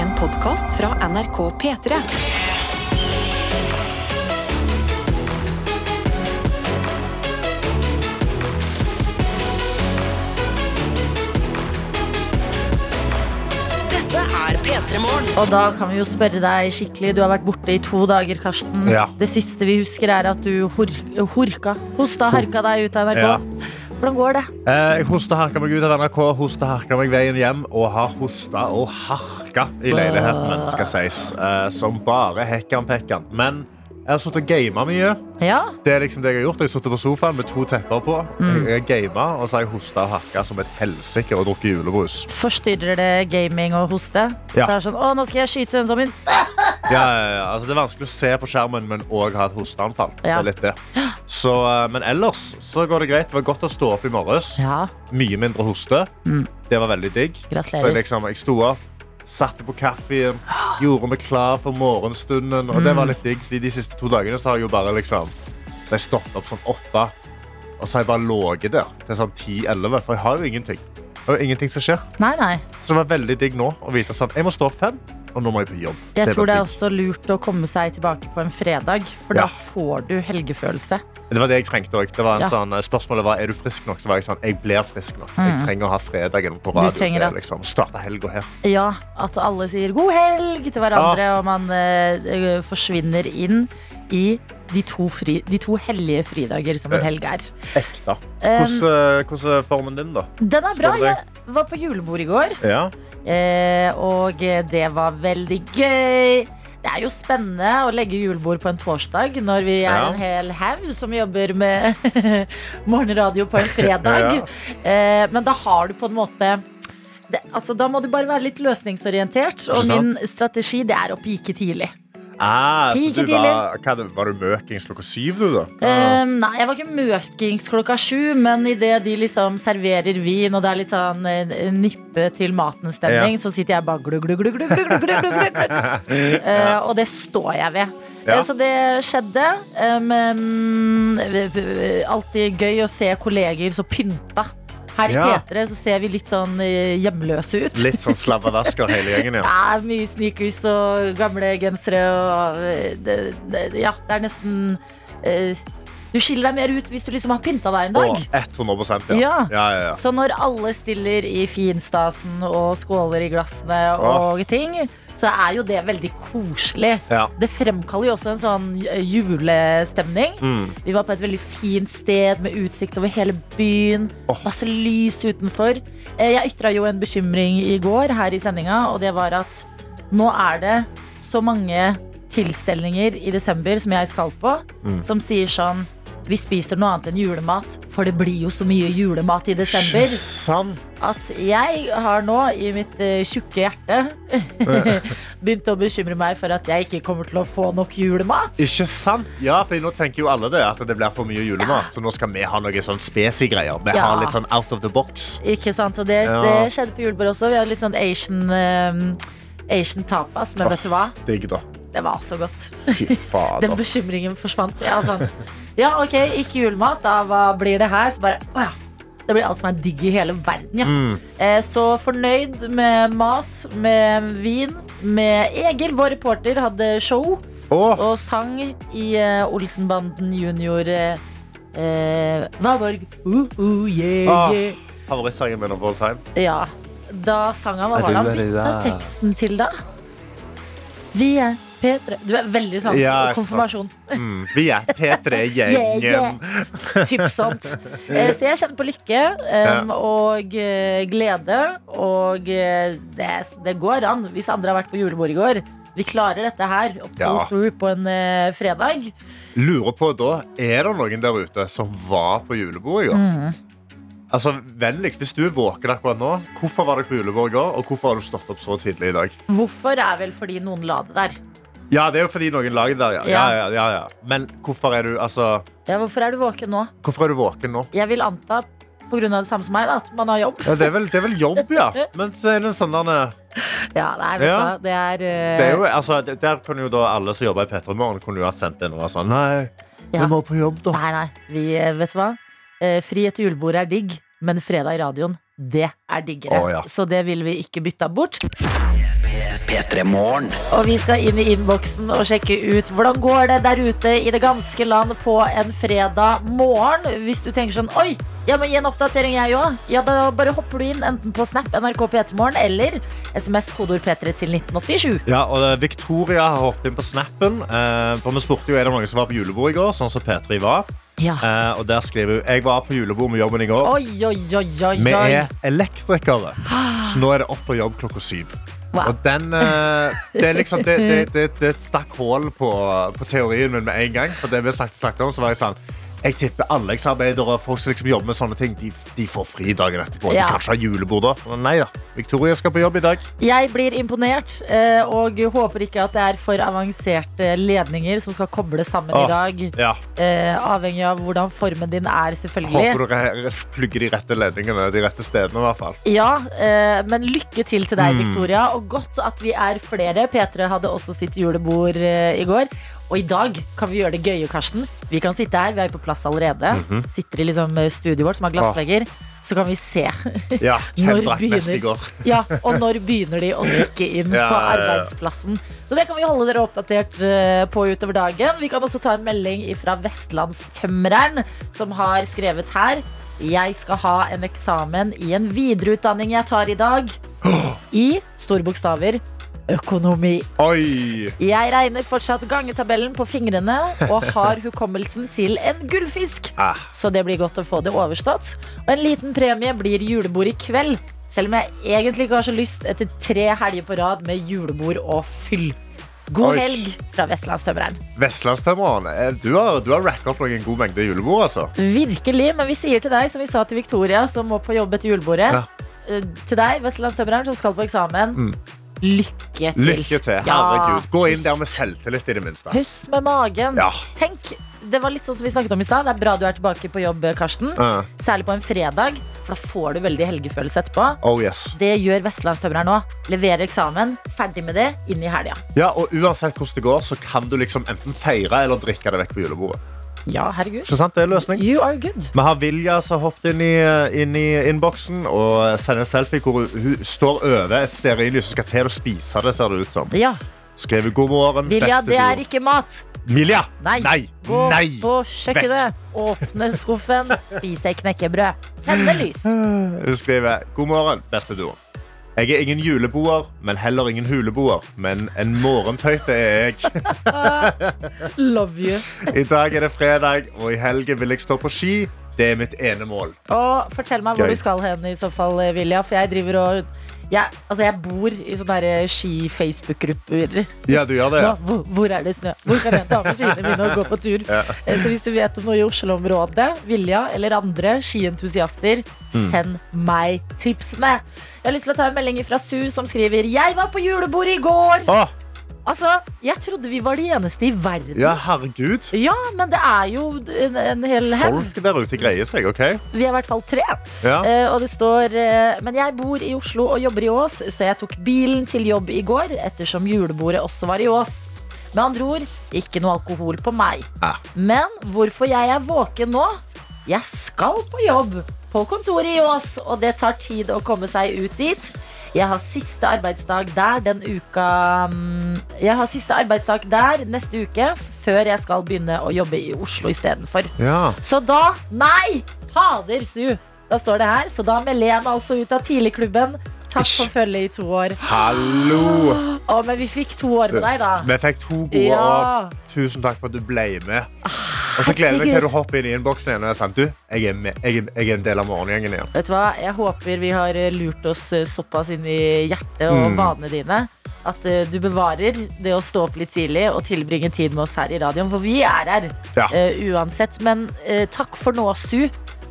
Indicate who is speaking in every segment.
Speaker 1: En podkast fra NRK P3. Dette er P3 Morgen.
Speaker 2: Og da kan vi jo spørre deg skikkelig. Du har vært borte i to dager, Karsten.
Speaker 3: Ja.
Speaker 2: Det siste vi husker, er at du hor horka, hosta, harka deg ut av NRK.
Speaker 3: Ja.
Speaker 2: Hvordan går det?
Speaker 3: Eh, Jeg hosta harka meg ut av NRK, hosta harka meg veien hjem, og har hosta og harka i leiligheten
Speaker 2: Ah.
Speaker 3: min, skal sies. Eh, som bare hekkan pekkan. Men jeg har sittet og gama mye.
Speaker 2: Ja,
Speaker 3: Det er liksom det jeg har gjort. Jeg har sittet på sofaen med to tepper på.
Speaker 2: Mm.
Speaker 3: Jeg har gama, og så har jeg hosta og harka som et helsike og drukket julebrus.
Speaker 2: Forstyrrer det gaming og hoste?
Speaker 3: Ja.
Speaker 2: Det er sånn, å, nå skal jeg skyte den zommen.
Speaker 3: Ja, ja, ja. altså, det er vanskelig å se på skjermen, men òg ha et hosteanfall. Det
Speaker 2: Ja.
Speaker 3: er litt det. Så, eh, men ellers så går det greit. Det var godt å stå opp i morges.
Speaker 2: Ja,
Speaker 3: Mye mindre hoste.
Speaker 2: Mm.
Speaker 3: Det var veldig digg. Så
Speaker 2: gratulerer.
Speaker 3: jeg, liksom, jeg sto opp, satte på kaffen, gjorde meg klar for morgenstunden. Og det
Speaker 2: Mm.
Speaker 3: var litt digg. De, de siste to dagene så har jeg jo bare liksom Så har jeg stått opp sånn åtte, og så har jeg bare ligget der til sånn ti-elleve. For jeg har jo ingenting. Det er jo ingenting som skjer.
Speaker 2: Nei, nei.
Speaker 3: Så det var veldig digg nå å vite sånn Jeg må stå opp fem, og nå må jeg på jobb.
Speaker 2: Jeg
Speaker 3: Det
Speaker 2: tror
Speaker 3: var
Speaker 2: det er
Speaker 3: digg.
Speaker 2: også lurt å komme seg tilbake på en fredag, for
Speaker 3: Ja.
Speaker 2: da får du helgefølelse.
Speaker 3: Det var det jeg trengte òg.
Speaker 2: Ja.
Speaker 3: Sånn, spørsmålet var er du frisk nok. Så var jeg sånn Jeg blir frisk nok. Jeg trenger å ha fredagen på radio.
Speaker 2: Mm. trenger
Speaker 3: Det er
Speaker 2: at-
Speaker 3: Liksom, Starte helga her.
Speaker 2: Ja, at alle sier god helg til hverandre, og man eh, forsvinner inn i de to, fri, de to hellige fridager som en helg er.
Speaker 3: Ekte.
Speaker 2: Um,
Speaker 3: Hvordan eh, hvordan er formen din, da?
Speaker 2: Den er bra.
Speaker 3: Spør deg.
Speaker 2: Jeg var på julebord i går,
Speaker 3: Ja.
Speaker 2: eh, og det var veldig gøy. Det er jo spennende å legge julebord på en torsdag når vi er
Speaker 3: Ja.
Speaker 2: en hel haug som jobber med morgenradio på en fredag. eh, men da har du på en måte det, altså, Da må du bare være litt løsningsorientert.
Speaker 3: Ikke
Speaker 2: Og min
Speaker 3: sant?
Speaker 2: strategi det er å pike tidlig.
Speaker 3: Ah, så
Speaker 2: Pike
Speaker 3: du var, hva, det- var du møkings klokka syv, du, da?
Speaker 2: Eh, nei, jeg var ikke møkings klokka sju, men idet de liksom serverer vin, og det er litt sånn eh, nippe til maten-stemning, så sitter jeg bare glugg, glugg, glugg, glugg, glugg, glugg, glugg, glugg, glugg. Eh, og det står jeg ved.
Speaker 3: Ja.
Speaker 2: Eh, Så det skjedde. Um, um, alltid gøy å se kolleger så pynta. Her i
Speaker 3: Ja.
Speaker 2: P3 så ser vi litt sånn eh, hjemløse ut.
Speaker 3: Litt sånn slabbadasker hele gjengen, ja.
Speaker 2: Ja, mye sneakers og gamle gensere og eh, det, det, Ja, det er nesten eh, Du skiller deg mer ut hvis du liksom har pynta deg en dag.
Speaker 3: Og 100 ja.
Speaker 2: Ja.
Speaker 3: ja, ja, ja.
Speaker 2: Så når alle stiller i finstasen og skåler i glassene og ting, så er jo det veldig koselig.
Speaker 3: ja.
Speaker 2: Det fremkaller jo også en sånn j- julestemning.
Speaker 3: Mm.
Speaker 2: Vi var på et veldig fint sted med utsikt over hele byen.
Speaker 3: Åh.
Speaker 2: Masse lys utenfor. Eh, Jeg ytra jo en bekymring i går her i sendinga, og det var at nå er det så mange tilstelninger i desember som jeg skal på,
Speaker 3: Mm.
Speaker 2: som sier sånn Vi spiser noe annet enn julemat, for det blir jo så mye julemat i desember.
Speaker 3: Sant.
Speaker 2: At jeg har nå i mitt eh, tjukke hjerte begynt å bekymre meg for at jeg ikke kommer til å få nok julemat.
Speaker 3: Ikke sant? Ja, for nå tenker jo alle det, at det blir for mye julemat. Så nå skal vi ha noe sånn spesi greier. Vi
Speaker 2: Ja.
Speaker 3: har litt sånn out of the box.
Speaker 2: Ikke sant, og det,
Speaker 3: Ja.
Speaker 2: det skjedde på julebord også. Vi hadde litt sånn Asian, eh, Asian tapas, men vet du hva?
Speaker 3: Digg, da.
Speaker 2: Det var så godt.
Speaker 3: Fy
Speaker 2: Den
Speaker 3: fader.
Speaker 2: bekymringen forsvant. Ja, sånn. ja, ok, ikke julemat, da hva blir det her? Så bare, å ja. Det blir alt som er digg i hele verden, ja.
Speaker 3: Mm.
Speaker 2: Eh, så fornøyd med mat, med vin, med Egil, vår reporter, hadde show
Speaker 3: Åh,
Speaker 2: og sang i eh, Olsenbanden junior eh, eh, Valborg. Uh, uh, yeah,
Speaker 3: Ah.
Speaker 2: yeah.
Speaker 3: favorittsangen min of all time.
Speaker 2: Ja, da sang han Hva var
Speaker 3: Er du
Speaker 2: det han
Speaker 3: veldig
Speaker 2: bytta
Speaker 3: der?
Speaker 2: teksten til, da? Vi er P3 Du er veldig sant.
Speaker 3: Ja,
Speaker 2: og konfirmasjon.
Speaker 3: Mm. Vi er
Speaker 2: Yeah, yeah.
Speaker 3: P3-gjengen.
Speaker 2: Typ sånt. Eh, Så jeg kjenner på lykke em, og eh, glede. Og eh, det, det går an, hvis andre har vært på julebord i går. Vi klarer dette her og pull
Speaker 3: Ja.
Speaker 2: through på en eh, fredag.
Speaker 3: Lurer på da, er det noen der ute som var på
Speaker 2: Mm.
Speaker 3: julebord i går? Altså, vennligst, Hvis du er våken akkurat nå, hvorfor var du på julebord i går? Og hvorfor har du stått opp så tidlig i dag?
Speaker 2: Hvorfor er vel fordi noen la det der?
Speaker 3: Ja, det er jo fordi noen lag der, ja. ja. ja, ja, ja. Men hvorfor er du altså,
Speaker 2: Ja, hvorfor er du våken nå?
Speaker 3: Hvorfor er du våken nå?
Speaker 2: Jeg vil anta på grunn av det samme som meg, da, at man har jobb.
Speaker 3: Ja, det, er vel, det er vel jobb, ja. Men så er det en sånn der,
Speaker 2: Ja, nei, vet du
Speaker 3: Ja.
Speaker 2: hva. Det er, eh,
Speaker 3: det er jo, altså, det- Der kunne jo da alle som jobber i P3 Morgen, kunne jo hatt sendt inn og vært sånn Nei,
Speaker 2: Ja.
Speaker 3: vi må på jobb, da.
Speaker 2: Nei, nei, vi, eh, vet du hva? Eh, Fri etter julebord er digg, men fredag i radioen, det er diggere.
Speaker 3: Å, ja.
Speaker 2: Så det vil vi ikke bytte bort.
Speaker 4: P3 Morgen.
Speaker 2: Og vi skal inn i innboksen og sjekke ut hvordan går det der ute i det ganske land på en fredag morgen. Hvis du tenker sånn Oi, jeg må gi en oppdatering, jeg òg. Ja, da bare hopper du inn enten på Snap NRK P3morgen eller SMS kodeord P3 til 1987.
Speaker 3: Ja, og eh, Victoria har hoppet inn på snappen. eh, For vi spurte jo er det noen som var på julebord i går, sånn som P3 var.
Speaker 2: Ja.
Speaker 3: Eh, Og der skriver hun jeg var på julebord med jobben i går.
Speaker 2: Oi, oi, oi, oi.
Speaker 3: Vi
Speaker 2: oi.
Speaker 3: er elektrikere, så nå er det opp på jobb klokka syv.
Speaker 2: Wow.
Speaker 3: Og den, eh, det, er liksom, det, det, det, det stakk hull på, på teorien min med en gang. For det vi snakket, snakket om, så var jeg sånn jeg tipper anleggsarbeidere og folk som liksom jobber med sånne ting, de, de får fri dagen etterpå.
Speaker 2: Ja.
Speaker 3: De kan ikke ha julebord da. Men Nei da. Victoria skal på jobb i dag.
Speaker 2: Jeg blir imponert eh, og håper ikke at det er for avanserte ledninger som skal kobles sammen
Speaker 3: Åh.
Speaker 2: i dag.
Speaker 3: Ja.
Speaker 2: Eh, avhengig av hvordan formen din er, selvfølgelig.
Speaker 3: Håper dere plugger de rette ledningene de rette stedene. i hvert fall.
Speaker 2: Ja, eh, men lykke til til deg,
Speaker 3: Mm.
Speaker 2: Victoria. Og godt at vi er flere. P3 hadde også sitt julebord eh, i går. Og i dag kan vi gjøre det gøye, Karsten. Vi kan sitte her, vi er på plass allerede.
Speaker 3: Mhm.
Speaker 2: Sitter i liksom eh, studioet vårt, som har
Speaker 3: Ah.
Speaker 2: glassvegger. Så kan vi se.
Speaker 3: Ja,
Speaker 2: Når
Speaker 3: Kendrakk mest i
Speaker 2: begynner-
Speaker 3: går.
Speaker 2: Ja, Og når begynner de å tikke inn
Speaker 3: Ja,
Speaker 2: på
Speaker 3: ja, ja.
Speaker 2: arbeidsplassen. Så det kan vi holde dere oppdatert eh, på utover dagen. Vi kan også ta en melding fra Vestlandstømreren, som har skrevet her. Jeg skal ha en eksamen i en videreutdanning jeg tar i dag. I store bokstaver økonomi.
Speaker 3: Oi!
Speaker 2: Jeg regner fortsatt gangetabellen på fingrene og har hukommelsen til en gullfisk.
Speaker 3: Ah.
Speaker 2: Så det blir godt å få det overstått. Og en liten premie blir julebord i kveld. Selv om jeg egentlig ikke har så lyst etter tre helger på rad med julebord og fyll. God
Speaker 3: Oi.
Speaker 2: helg fra Vestlandstømreren.
Speaker 3: Vestlandstømmeren, eh, du har, du har racket opp en god mengde julebord, altså.
Speaker 2: Virkelig. Men vi sier til deg, som vi sa til Victoria, som må på jobb etter julebordet,
Speaker 3: Ja.
Speaker 2: eh, til deg, Vestlandstømreren, som skal på eksamen,
Speaker 3: Mm.
Speaker 2: lykke til.
Speaker 3: Lykke til. Herregud. Gå inn der med selvtillit, i det minste.
Speaker 2: Pust med magen.
Speaker 3: Ja.
Speaker 2: Tenk, det var litt sånn som vi snakket om i stad. Det er bra du er tilbake på jobb, Karsten.
Speaker 3: Eh,
Speaker 2: Særlig på en fredag, for da får du veldig helgefølelse etterpå.
Speaker 3: oh yes.
Speaker 2: Det gjør Vestlandstømreren nå. Leverer eksamen, ferdig med det, inn i helga.
Speaker 3: Ja, og Uansett hvordan det går, så kan du liksom enten feire eller drikke det vekk på julebordet.
Speaker 2: Ja, herregud.
Speaker 3: Ikke sant? Det er løsning.
Speaker 2: You are good.
Speaker 3: Vi har Vilja som har hoppet inn i, eh, inn i innboksen og eh, sender en selfie hvor hun, hun står over et stearinlys og skal til å spise det, ser det ut som.
Speaker 2: Ja,
Speaker 3: Skriver god morgen.
Speaker 2: Vilja,
Speaker 3: beste
Speaker 2: det er
Speaker 3: tur.
Speaker 2: ikke mat.
Speaker 3: Vilja!
Speaker 2: Nei.
Speaker 3: Nei!
Speaker 2: Gå
Speaker 3: Nei.
Speaker 2: på kjøkkenet, åpne skuffen, spis ei knekkebrød. Tenne lys.
Speaker 3: Hun skriver God morgen, beste duo. Jeg er ingen juleboer, men heller ingen huleboer. Men en morgentøyte er jeg.
Speaker 2: Love you.
Speaker 3: I dag er det fredag, og i helgen vil jeg stå på ski. Det er mitt ene mål.
Speaker 2: Og fortell meg hvor
Speaker 3: Gøy.
Speaker 2: du skal hen i så fall, Vilja. For jeg driver og jeg, altså jeg bor i sånne der ski-Facebook-grupper.
Speaker 3: Ja, du gjør det?
Speaker 2: Nå, hvor, hvor er det snø? Hvor kan jeg ta med skiene mine og gå på tur? Eh, Så hvis du vet om noe i Oslo-området, Vilja eller andre skientusiaster,
Speaker 3: Mm.
Speaker 2: send meg tipsene. Jeg har lyst til å ta en melding fra Su som skriver Jeg var på julebord i går!
Speaker 3: Å,
Speaker 2: Altså, jeg trodde vi var de eneste i verden.
Speaker 3: ja, herregud.
Speaker 2: Ja, men det er jo en, en hel haug.
Speaker 3: Folk der ute greier seg, OK?
Speaker 2: Vi er i hvert fall tre.
Speaker 3: Ja.
Speaker 2: Eh, og det står eh, Men jeg bor i Oslo og jobber i Ås, så jeg tok bilen til jobb i går ettersom julebordet også var i Ås. Med andre ord ikke noe alkohol på meg.
Speaker 3: Ah.
Speaker 2: Men hvorfor jeg er våken nå? Jeg skal på jobb på kontoret i Ås, og det tar tid å komme seg ut dit. Jeg har siste arbeidsdag der den uka mm, Jeg har siste arbeidsdag der neste uke før jeg skal begynne å jobbe i Oslo istedenfor.
Speaker 3: ja.
Speaker 2: Så da Nei! Fader su! Da står det her. Så da melder jeg meg også ut av tidligklubben. Takk for følget i to år.
Speaker 3: Hallo!
Speaker 2: Å, men vi fikk to år med deg, da.
Speaker 3: Vi fikk to gode år.
Speaker 2: Ja.
Speaker 3: Tusen takk for at du ble med. Og så gleder jeg meg til du hopper inn i innboksen igjen. Og jeg, er sånn, du, jeg, er med. Jeg, er, jeg er en del av morgengjengen igjen.
Speaker 2: Vet du hva? Jeg håper vi har eh, lurt oss eh, såpass inn i hjertet og
Speaker 3: Mm.
Speaker 2: vanene dine at eh, du bevarer det å stå opp litt tidlig og tilbringe tid med oss her i radioen, for vi er her
Speaker 3: Ja.
Speaker 2: eh, uansett. Men eh, takk for nå, Su.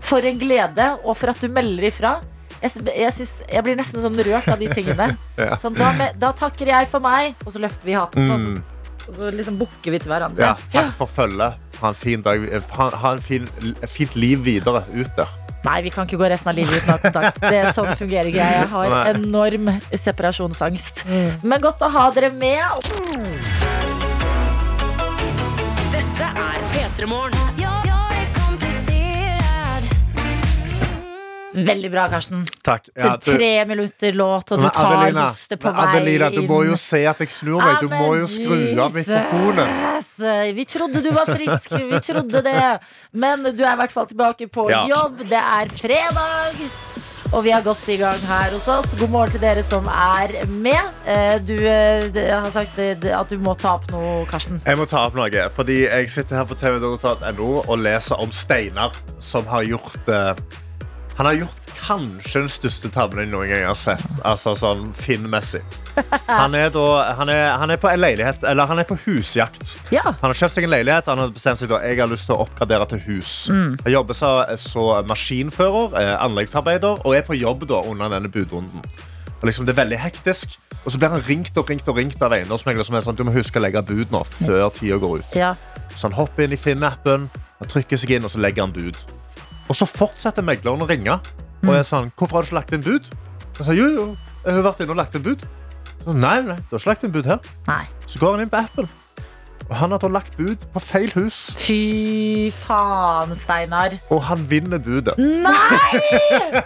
Speaker 2: For en glede, og for at du melder ifra. Jeg, s- jeg, syns, jeg blir nesten sånn rørt av de tingene. sånn, da, me- da takker jeg for meg, og så løfter vi hatten. Og,
Speaker 3: Mm.
Speaker 2: så, og så liksom bukker vi til hverandre.
Speaker 3: Ja, takk for følget. Ha en fin dag. Ha, ha en fin, fint liv videre ut der.
Speaker 2: Nei, vi kan ikke gå resten av livet uten å ha kontakt. Det er sånn fungerer ikke jeg. Jeg har
Speaker 3: Nei.
Speaker 2: enorm separasjonsangst. Men godt å ha dere med.
Speaker 1: Dette er P3 Morgen.
Speaker 5: Jag, jag är komplicerad
Speaker 2: Veldig bra, Karsten.
Speaker 3: Takk.
Speaker 2: Til
Speaker 3: Ja, du-
Speaker 2: tre minutter låt, og du
Speaker 3: Men
Speaker 2: tar
Speaker 3: Adelina,
Speaker 2: hoste på
Speaker 3: men
Speaker 2: vei
Speaker 3: Adelina, du må jo
Speaker 2: inn.
Speaker 3: se at jeg snur meg. Du
Speaker 2: Ja,
Speaker 3: må
Speaker 2: men
Speaker 3: jo skru av
Speaker 2: Jesus.
Speaker 3: mikrofonen.
Speaker 2: Vi trodde du var frisk, vi trodde det. Men du er i hvert fall tilbake på
Speaker 3: Ja.
Speaker 2: jobb. Det er fredag. Og vi er godt i gang her hos oss. God morgen til dere som er med. Eh, Du eh, d- har sagt eh, d- at du må ta opp noe, Karsten.
Speaker 3: Jeg må ta opp noe, fordi jeg sitter her på tv.no og leser om Steinar, som har gjort eh, Han har gjort kanskje den største tabben jeg noen gang har sett. Altså sånn Finn-messig. Han, er da- han, er- han er på en leilighet, eller han er på husjakt.
Speaker 2: Ja.
Speaker 3: Han har kjøpt seg en leilighet Han har bestemt seg da, jeg har lyst til å oppgradere til hus. Jeg jobber så, så maskinfører, eh, anleggsarbeider og er på jobb da, under denne budrunden. Og liksom, det er veldig hektisk. Og så blir han ringt og ringt og ringt av eiendomsmegler som er sånn, du må huske å legge bud nå før tida går ut.
Speaker 2: Ja.
Speaker 3: Så han hopper inn i Finn-appen, han trykker seg inn og så legger han bud. Og så fortsetter megleren å ringe. Og jeg sa han, hvorfor har du ikke lagt inn bud? Han sa, jo, jo, jeg har vært inne og lagt inn bud. Så, nei, nei, du har ikke lagt inn bud her.
Speaker 2: Nei.
Speaker 3: Så går han inn på appen. Og han har da lagt bud på feil hus,
Speaker 2: Fy faen, Steinar.
Speaker 3: og han vinner budet.
Speaker 2: Mm. Nei!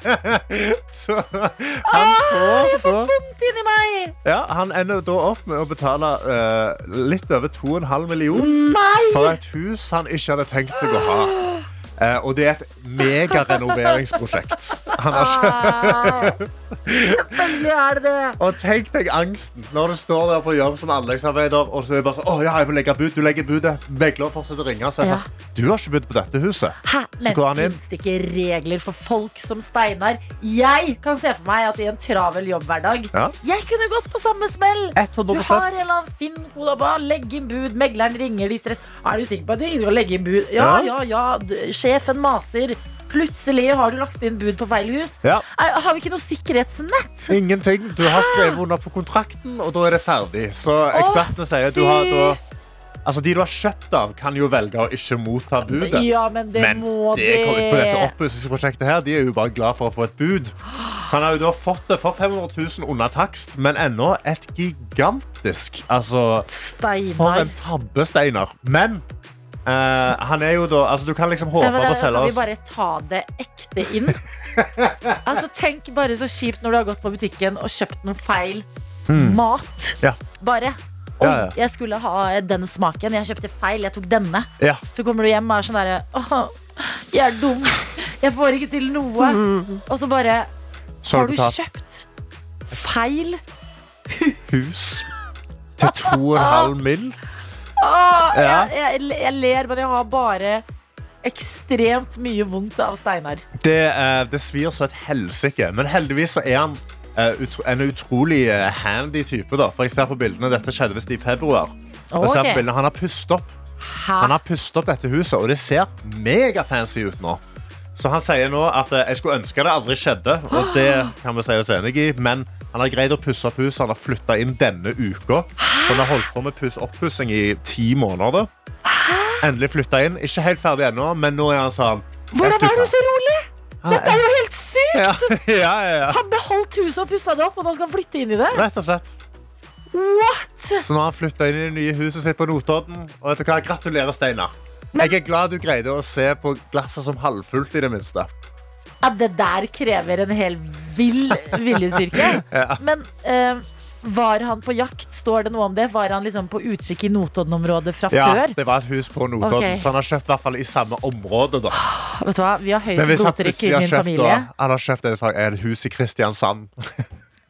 Speaker 3: Så han får da
Speaker 2: Vondt inni meg!
Speaker 3: ja, Han ender da opp med å betale eh, litt over 2,5 millioner
Speaker 2: Nei!
Speaker 3: for et hus han ikke hadde tenkt seg å ha. Eh, og det er et megarenoveringsprosjekt. Han har ikke
Speaker 2: Ah. Selvfølgelig er det det.
Speaker 3: Og tenk deg angsten når du står der på jobb som anleggsarbeider og så er det bare sånn, å ja, jeg må legge bud, du legger budet. Megleren fortsetter å ringe og sier
Speaker 2: Ja.
Speaker 3: sånn Du har ikke bud på dette huset.
Speaker 2: Hæ? Men
Speaker 3: går han inn.
Speaker 2: fins det ikke regler for folk som Steinar? Jeg kan se for meg at i en travel jobbhverdag
Speaker 3: Ja.
Speaker 2: Jeg kunne gått på samme smell!
Speaker 3: 100
Speaker 2: Du har en eller annen Finn Kolaba, legg inn bud, megleren ringer, de stress Er du sikker på at du gidder å legge inn bud? Ja, ja, ja, d- sjefen maser. Plutselig har du lagt inn bud på feil hus.
Speaker 3: Ja.
Speaker 2: Er, har vi ikke noe sikkerhetsnett?
Speaker 3: Ingenting. Du har skrevet under på kontrakten, og da er det ferdig. Så ekspertene sier du har da Altså, De du har kjøpt av, kan jo velge å ikke motta budet.
Speaker 2: Ja, men det
Speaker 3: Men
Speaker 2: må
Speaker 3: det kom ut på dette
Speaker 2: de-
Speaker 3: oppussingsprosjektet her, de er jo bare glad for å få et bud. Så han har jo da fått det for 500 000 under takst, men ennå et gigantisk Altså, for
Speaker 2: Steinar.
Speaker 3: en tabbe, Steinar. Men eh, han er jo da Altså, du kan liksom
Speaker 2: Nei,
Speaker 3: håpe
Speaker 2: men
Speaker 3: på
Speaker 2: da Kan vi
Speaker 3: selgers
Speaker 2: bare ta det ekte inn? altså Tenk bare så kjipt når du har gått på butikken og kjøpt noe feil mat.
Speaker 3: Ja.
Speaker 2: Bare. Oi,
Speaker 3: Hmm. Ja, ja.
Speaker 2: jeg skulle ha den smaken. Jeg kjøpte feil. Jeg tok denne.
Speaker 3: Ja.
Speaker 2: Så kommer du hjem og er sånn derre Åh, jeg er dum. Jeg får ikke til noe. Og så bare
Speaker 3: Så
Speaker 2: Har
Speaker 3: Hmm. har
Speaker 2: du
Speaker 3: du tatt
Speaker 2: kjøpt feil?
Speaker 3: hus til 2,5 mill.
Speaker 2: Åh,
Speaker 3: Ja.
Speaker 2: jeg, jeg, jeg ler, men jeg har bare ekstremt mye vondt av Steinar.
Speaker 3: Det, eh, det svir så et helsike, men heldigvis så er han eh, utro en utrolig eh, handy type. Da. For jeg ser på bildene, Dette skjedde visst i februar. Jeg ser på
Speaker 2: Ok.
Speaker 3: bildene, han har pustet opp
Speaker 2: Hæ?
Speaker 3: Han har pustet opp dette huset, og det ser megafancy ut nå. Så han sier nå at eh, jeg skulle ønske det aldri skjedde, og det kan vi si oss enig i. Men han har greid å pusse opp huset. Han har flytta inn denne uka. Så han har holdt på med pus oppussing i ti måneder. Endelig flytta inn. Ikke helt ferdig ennå, men nå er han sånn
Speaker 2: Hvordan er du så rolig? Det
Speaker 3: Ja,
Speaker 2: er jo helt sykt!
Speaker 3: ja, ja, ja.
Speaker 2: Han beholdt huset og pussa det opp, og nå skal han flytte inn i det.
Speaker 3: Rett og slett.
Speaker 2: What?
Speaker 3: Så nå har han flytta inn i det nye huset sitt på Notodden. Og vet du hva? Gratulerer, Steinar. Jeg er glad du greide å se på glasset som halvfullt, i det minste.
Speaker 2: Ja, det der krever en hel vill viljestyrke. Men eh, var han på jakt? Står det noe om det? Var han liksom på utkikk i Notodden-området fra
Speaker 3: Ja,
Speaker 2: før?
Speaker 3: det var et hus på Notodden,
Speaker 2: Ok.
Speaker 3: så han har kjøpt i, hvert fall i samme område. Da.
Speaker 2: Vet du hva, Vi har høyt
Speaker 3: Men hvis han
Speaker 2: blodtrykk
Speaker 3: plutselig
Speaker 2: i
Speaker 3: har
Speaker 2: min
Speaker 3: kjøpt,
Speaker 2: familie.
Speaker 3: da, han har kjøpt et, et hus i Kristiansand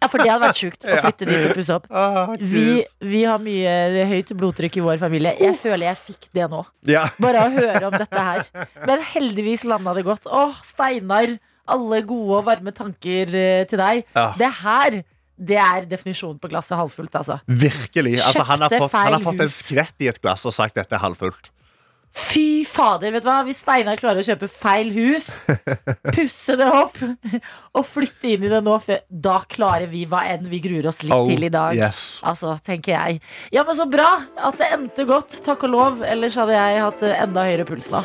Speaker 2: Ja, For det hadde vært sjukt å flytte dit og pusse opp.
Speaker 3: ah,
Speaker 2: Vi, vi har mye høyt blodtrykk i vår familie.
Speaker 3: Oh.
Speaker 2: Jeg føler jeg fikk det nå.
Speaker 3: ja.
Speaker 2: Bare å høre om dette her. Men heldigvis landa det godt. Åh, Steinar. Alle gode og varme tanker eh, til deg.
Speaker 3: Ja.
Speaker 2: Det her det er definisjonen på glasset halvfullt, altså.
Speaker 3: Virkelig. Altså, han, har
Speaker 2: Kjøpte
Speaker 3: fått, han har
Speaker 2: feil
Speaker 3: fått en
Speaker 2: hus.
Speaker 3: skvett i et glass og sagt dette er halvfullt.
Speaker 2: Fy fader, vet du hva? Hvis Steinar klarer å kjøpe feil hus, pusse det opp og flytte inn i det nå, før- da klarer vi hva enn vi gruer oss litt
Speaker 3: Oh,
Speaker 2: til i dag.
Speaker 3: yes.
Speaker 2: Altså, tenker jeg. Ja, men så bra at det endte godt. Takk og lov. Ellers hadde jeg hatt eh, enda høyere puls nå.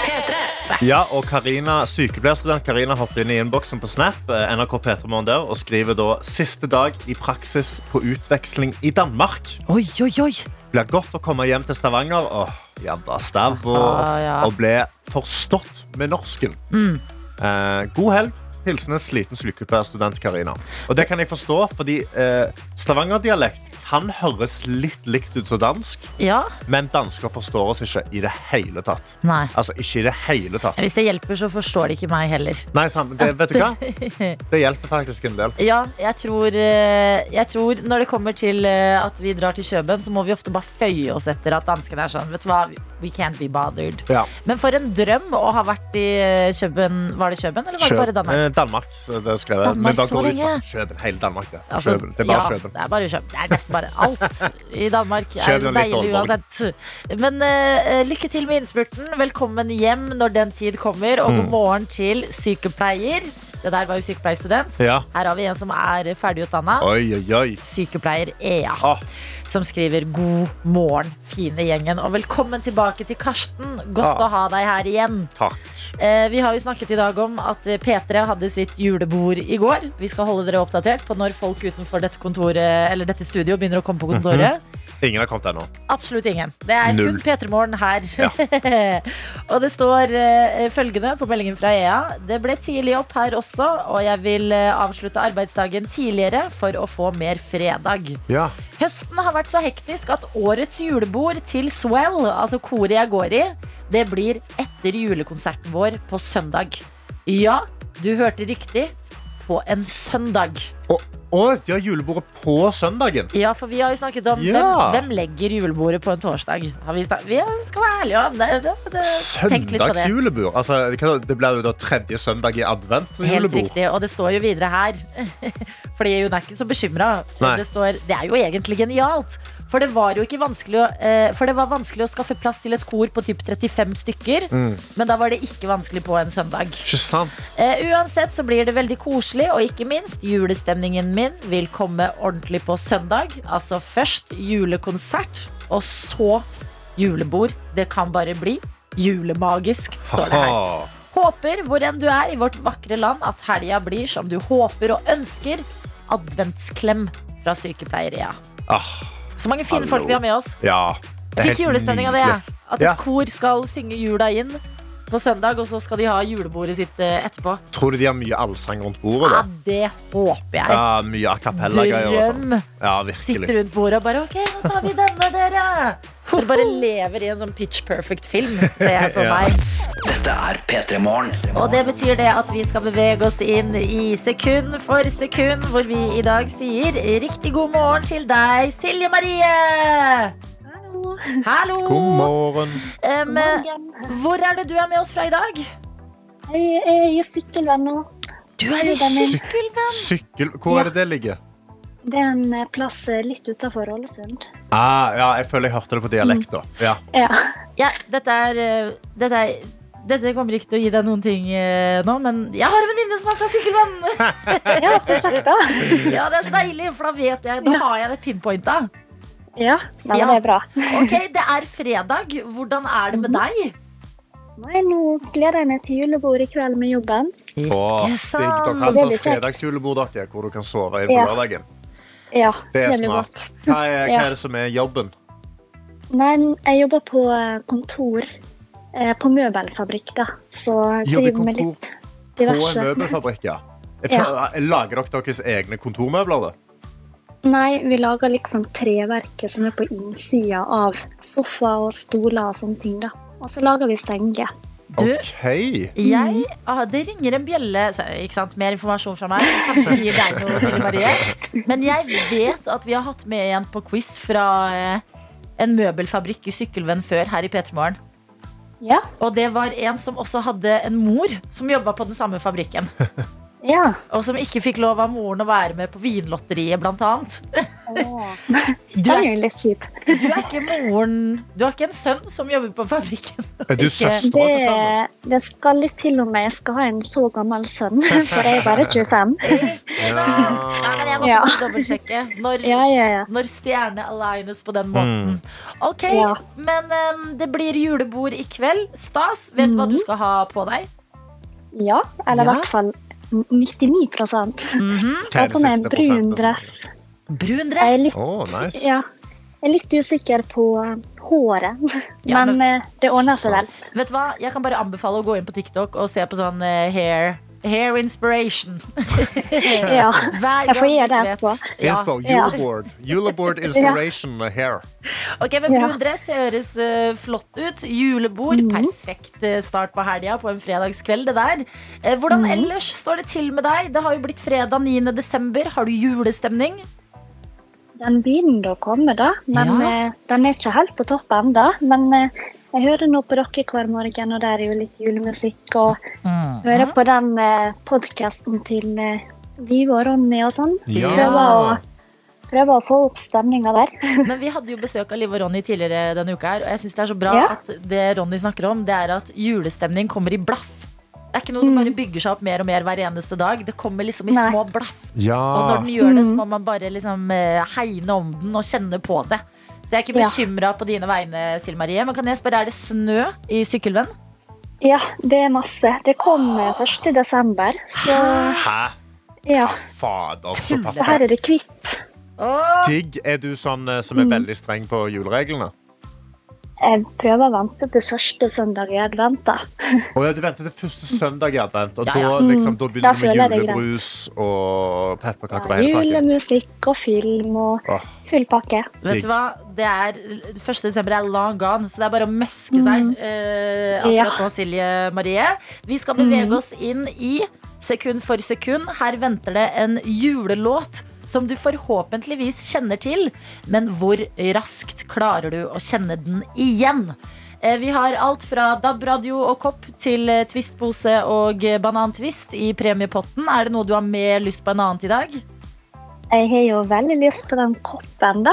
Speaker 1: P3.
Speaker 3: Ja, og Karina, Sykepleierstudent Karina hoppet inn i innboksen på Snap eh, NRK Petermorgen der, og skriver da siste dag i praksis på utveksling i Danmark.
Speaker 2: Oi, oi, oi.
Speaker 3: blir godt å komme hjem til Stavanger og jabba stav og,
Speaker 2: Ah, ja. Mm.
Speaker 3: og ble forstått med norsken. Eh, god helg. Hilsen en sliten slukekuppe student Karina. Og det kan jeg forstå, fordi eh, stavangerdialekt kan høres litt likt ut som dansk,
Speaker 2: Ja?
Speaker 3: men dansker forstår oss ikke i det hele tatt.
Speaker 2: Nei.
Speaker 3: Altså, ikke i det hele tatt.
Speaker 2: Hvis det hjelper, så forstår de ikke meg heller.
Speaker 3: Nei, sant, det, vet du hva? Det hjelper faktisk en del.
Speaker 2: Ja, jeg tror, eh, jeg tror når det kommer til eh, at vi drar til Kjøben, så må vi ofte bare føye oss etter at danskene er sånn. Vet du hva, we can't be bothered.
Speaker 3: Ja.
Speaker 2: Men for en drøm å ha vært i eh, Kjøben. Var det Kjøben, eller var det bare Danmark?
Speaker 3: Eh, Danmark, så det er skrevet.
Speaker 2: Danmark
Speaker 3: Men
Speaker 2: så
Speaker 3: bare går ut fra
Speaker 2: lenge.
Speaker 3: Kjøben, hele Danmark. Det.
Speaker 2: Altså,
Speaker 3: Kjøben. Det er bare
Speaker 2: ja,
Speaker 3: Kjøben.
Speaker 2: Det er bare Kjøben. Det er nesten bare alt i Danmark. er
Speaker 3: Kjøben
Speaker 2: jo
Speaker 3: og litt
Speaker 2: deilig
Speaker 3: Aalborg.
Speaker 2: uansett. Men eh, lykke til med innspurten. Velkommen hjem når den tid kommer. Og
Speaker 3: Mm.
Speaker 2: god morgen til sykepleier. Det der var jo sykepleierstudent.
Speaker 3: Ja.
Speaker 2: Her har vi en som er ferdigutdanna.
Speaker 3: Oi, oi, oi.
Speaker 2: Sykepleier Ea,
Speaker 3: Ah,
Speaker 2: som skriver 'God morgen, fine gjengen'. Og velkommen tilbake til Karsten. Godt
Speaker 3: Ah.
Speaker 2: å ha deg her igjen.
Speaker 3: takk.
Speaker 2: Eh, vi har jo snakket i dag om at eh, P3 hadde sitt julebord i går. Vi skal holde dere oppdatert på når folk utenfor dette kontoret Eller dette studio begynner å komme på kontoret.
Speaker 3: Ingen har kommet ennå.
Speaker 2: Absolutt ingen. Det er
Speaker 3: Null.
Speaker 2: kun P3 Morgen her. og det står eh, følgende på meldingen fra EA. Det ble tidlig opp her også, og jeg vil eh, avslutte arbeidsdagen tidligere for å få mer fredag.
Speaker 3: Ja.
Speaker 2: Høsten har vært så hektisk at årets julebord til Swell, altså koret jeg går i, det blir etter julekonserten vår på søndag. Ja, du hørte riktig. På en søndag.
Speaker 3: Og, og de har julebordet på søndagen.
Speaker 2: Ja, for vi har jo snakket om
Speaker 3: Ja.
Speaker 2: hvem, hvem legger julebordet på en torsdag. Har vi, snak- vi skal være ærlige. Ja. Det, det, det, tenk litt på det.
Speaker 3: Søndagsjulebord. Altså, hva da? det blir jo da tredje søndag i advent.
Speaker 2: Helt
Speaker 3: julebord.
Speaker 2: riktig, og det står jo videre her. Fordi hun er ikke så bekymra.
Speaker 3: Nei.
Speaker 2: Det, står, det er jo egentlig genialt. For det var jo ikke vanskelig å, eh, For det var vanskelig å skaffe plass til et kor på typ 35 stykker.
Speaker 3: Mm.
Speaker 2: Men da var det ikke vanskelig på en søndag.
Speaker 3: Ikke sant?
Speaker 2: Eh, uansett så blir det veldig koselig, og ikke minst julestemningen min vil komme ordentlig på søndag. Altså først julekonsert, og så julebord. Det kan bare bli julemagisk, står det her.
Speaker 3: Haha.
Speaker 2: Håper, hvor enn du er i vårt vakre land, at helga blir som du håper og ønsker. Adventsklem fra sykepleier Ea.
Speaker 3: Ah,
Speaker 2: Så mange fine
Speaker 3: Hallo.
Speaker 2: folk vi har med oss.
Speaker 3: ja. Det er
Speaker 2: Jeg fikk
Speaker 3: helt
Speaker 2: julestemning av det.
Speaker 3: nydelig.
Speaker 2: jeg. At et
Speaker 3: Ja.
Speaker 2: kor skal synge jula inn på søndag, og så skal de ha julebordet sitt eh, etterpå.
Speaker 3: Tror du de har mye allsang rundt bordet?
Speaker 2: Ja,
Speaker 3: da?
Speaker 2: det håper jeg.
Speaker 3: Ja, mye a cappella-greier og sånn.
Speaker 2: Drøm!
Speaker 3: Ja,
Speaker 2: Sitter
Speaker 3: virkelig.
Speaker 2: rundt bordet og bare OK, nå tar vi denne, dere. Dere bare lever i en sånn pitch perfect-film, ser jeg for
Speaker 3: Ja.
Speaker 2: meg.
Speaker 4: Dette er P3 Morgen.
Speaker 2: Og det betyr det at vi skal bevege oss inn i sekund for sekund, hvor vi i dag sier riktig god morgen til deg, Silje Marie.
Speaker 5: Hallo.
Speaker 2: Hallo.
Speaker 3: God morgen.
Speaker 2: Em,
Speaker 5: Morgen.
Speaker 2: hvor er det du er med oss fra i dag?
Speaker 5: Jeg er i sykkelvenner.
Speaker 2: Du er
Speaker 5: i Syk-
Speaker 2: sykkelvenn.
Speaker 3: Sykkel Hvor er det det ligger?
Speaker 5: Det er en eh, plass eh, litt utenfor Ålesund.
Speaker 3: Ah, ja, jeg føler jeg hørte det på dialekt, da. Ja.
Speaker 5: Ja.
Speaker 2: Ja, dette er, eh, dette er dette kommer ikke til å gi deg noen ting eh, nå, men jeg har en venninne som er fra Sykkelvenn!
Speaker 5: ja, så kjekt, da.
Speaker 2: Ja, det er så deilig, for da vet jeg, da har jeg det pinpointa.
Speaker 5: Ja, nei, men
Speaker 2: Ja.
Speaker 5: det er bra.
Speaker 2: Ok, det er fredag. Hvordan er det med deg?
Speaker 5: Nei, nå gleder jeg meg til julebord i kveld med jobben.
Speaker 3: Åh,
Speaker 2: Ikke
Speaker 3: digg. Dere har
Speaker 2: sant?
Speaker 5: Det er
Speaker 3: sånn
Speaker 5: litt kjekt.
Speaker 3: fredagsjulebord dere, hvor du kan sove inn på
Speaker 5: Ja.
Speaker 3: lørdagen.
Speaker 5: Ja,
Speaker 3: Det er
Speaker 5: jævlig
Speaker 3: smart.
Speaker 5: godt.
Speaker 3: Hva er, hva
Speaker 5: Ja.
Speaker 3: er det som er jobben?
Speaker 5: Nei, jeg jobber på eh, kontor eh, på møbelfabrikk, da. Så jeg
Speaker 3: Jobber i
Speaker 5: driver med
Speaker 3: kontor
Speaker 5: litt
Speaker 3: På en
Speaker 5: diverse.
Speaker 3: møbelfabrikk, ja. Jeg
Speaker 5: Ja.
Speaker 3: føler- jeg Lager dere deres egne kontormøbler? da?
Speaker 5: Nei, vi lager liksom treverket som er på innsida av sofa og stoler og sånne ting, da. Og så lager vi stenger.
Speaker 2: Du,
Speaker 3: OK.
Speaker 2: Jeg, ah, det ringer en bjelle så- ikke sant? Mer informasjon fra meg. som Kanskje gir deg noe, Silje Marie. Men jeg vet at vi har hatt med en på quiz fra eh, en møbelfabrikk i Sykkelvenn før her i P3morgen.
Speaker 5: Ja.
Speaker 2: Og det var en som også hadde en mor som jobba på den samme fabrikken.
Speaker 5: Ja.
Speaker 2: Og som ikke fikk lov av moren å være med på Vinlotteriet, blant annet.
Speaker 5: Åh.
Speaker 2: Du
Speaker 5: Den
Speaker 2: er,
Speaker 5: er jo litt kjip.
Speaker 2: du er ikke moren Du har ikke en sønn som jobber på fabrikken.
Speaker 3: Er du
Speaker 2: Ikke-
Speaker 3: søster til sammen?
Speaker 5: Det, det skal litt til om jeg skal ha en så gammel sønn, for jeg er bare 25.
Speaker 2: Nei, men jeg måtte
Speaker 5: Ja.
Speaker 2: bare dobbeltsjekke. Når,
Speaker 5: Ja, ja, ja.
Speaker 2: Når stjerne alignes på den måten. Ok,
Speaker 5: Ja.
Speaker 2: men em, det blir julebord i kveld. Stas, vet du hva du
Speaker 5: Mhm.
Speaker 2: skal ha på deg?
Speaker 5: ja eller i
Speaker 2: Ja.
Speaker 5: hvert fall 99 Jeg
Speaker 3: Hva er
Speaker 5: har
Speaker 3: det
Speaker 5: på meg en
Speaker 2: altså.
Speaker 3: siste
Speaker 5: brun
Speaker 3: prosenten?
Speaker 5: dress.
Speaker 2: Brun
Speaker 5: Jeg er
Speaker 2: dress.
Speaker 5: litt,
Speaker 3: Å, nice.
Speaker 5: ja. Jeg er litt usikker på eh, håret,
Speaker 2: Ja,
Speaker 5: men eh, det ordner seg vel.
Speaker 2: Vet du hva? Jeg kan bare anbefale å gå inn på TikTok og se på sånn eh, hair. Hair inspiration.
Speaker 5: Ja.
Speaker 2: Hver
Speaker 5: Jeg får
Speaker 2: gang du
Speaker 5: gjøre det
Speaker 2: vet.
Speaker 5: etterpå.
Speaker 2: Ja.
Speaker 3: Inspo,
Speaker 5: Ja.
Speaker 3: Uloboard. Uloboard inspiration hair.
Speaker 2: Ok, men Brun
Speaker 5: Ja. Mhm.
Speaker 2: dress høres eh, flott ut. Julebord, perfekt eh, start på helga på en fredagskveld. det der Eh, Hvordan
Speaker 5: Mhm.
Speaker 2: ellers står det til med deg? Det har jo blitt fredag 9. desember. Har du julestemning?
Speaker 5: Den begynner å komme, da. Men
Speaker 2: Ja.
Speaker 5: eh, den er ikke helt på topp ennå. Men eh, jeg hører nå på dere hver morgen, og der er jo litt julemusikk. Og hører på den eh, podkasten til eh, Vive og Ronny og sånn.
Speaker 3: Ja.
Speaker 5: Prøver, å, prøver å få opp stemninga der.
Speaker 2: Men vi hadde jo besøk av Liv og Ronny tidligere denne uka her, og jeg syns det er så bra
Speaker 5: Ja.
Speaker 2: at det Ronny snakker om, det er at julestemning kommer i blaff. Det er ikke noe som bare bygger seg opp mer og mer hver eneste dag. Det kommer liksom i
Speaker 5: Mhm. Nei.
Speaker 2: små blaff. Og når
Speaker 3: Ja.
Speaker 2: den gjør det, så må man bare liksom eh, hegne om den og kjenne på det. Så jeg er ikke
Speaker 5: Ja.
Speaker 2: bekymra på dine vegne, Silje Marie. Men kan jeg spørre, er det snø i Sykkylven?
Speaker 5: Ja, det er masse. Det kom eh, 1. desember. Så
Speaker 3: Hæ?
Speaker 5: ja,
Speaker 3: Fader, så
Speaker 5: det her
Speaker 3: perfekt.
Speaker 5: er det kvitt.
Speaker 3: Digg. Er du sånn eh, som er
Speaker 5: Mm.
Speaker 3: veldig streng på julereglene?
Speaker 5: Jeg prøver å vente til første søndag i advent. da.
Speaker 3: Å ja, du venter til første søndag i advent, og
Speaker 2: Ja, ja.
Speaker 3: da, liksom, da
Speaker 5: Mm.
Speaker 3: begynner
Speaker 5: Da
Speaker 3: du
Speaker 5: føler jeg
Speaker 3: med
Speaker 5: det er greit.
Speaker 3: julebrus og pepperkaker og hele pakken.
Speaker 5: Julemusikk og film og
Speaker 3: Åh,
Speaker 5: full pakke.
Speaker 2: Vet
Speaker 3: Digg.
Speaker 2: du hva? Det er, 1. desember er long gone, så det er bare å meske seg. eh,
Speaker 5: Ja.
Speaker 2: akkurat nå, Silje Marie. Vi skal bevege oss inn i sekund for sekund. Her venter det en julelåt som du forhåpentligvis kjenner til, men hvor raskt klarer du å kjenne den igjen? Eh, Vi har alt fra DAB-radio og kopp til eh, twistpose og eh, banantvist i premiepotten. Er det noe du har mer lyst på enn annet i dag?
Speaker 5: Jeg har jo veldig lyst på den koppen, da.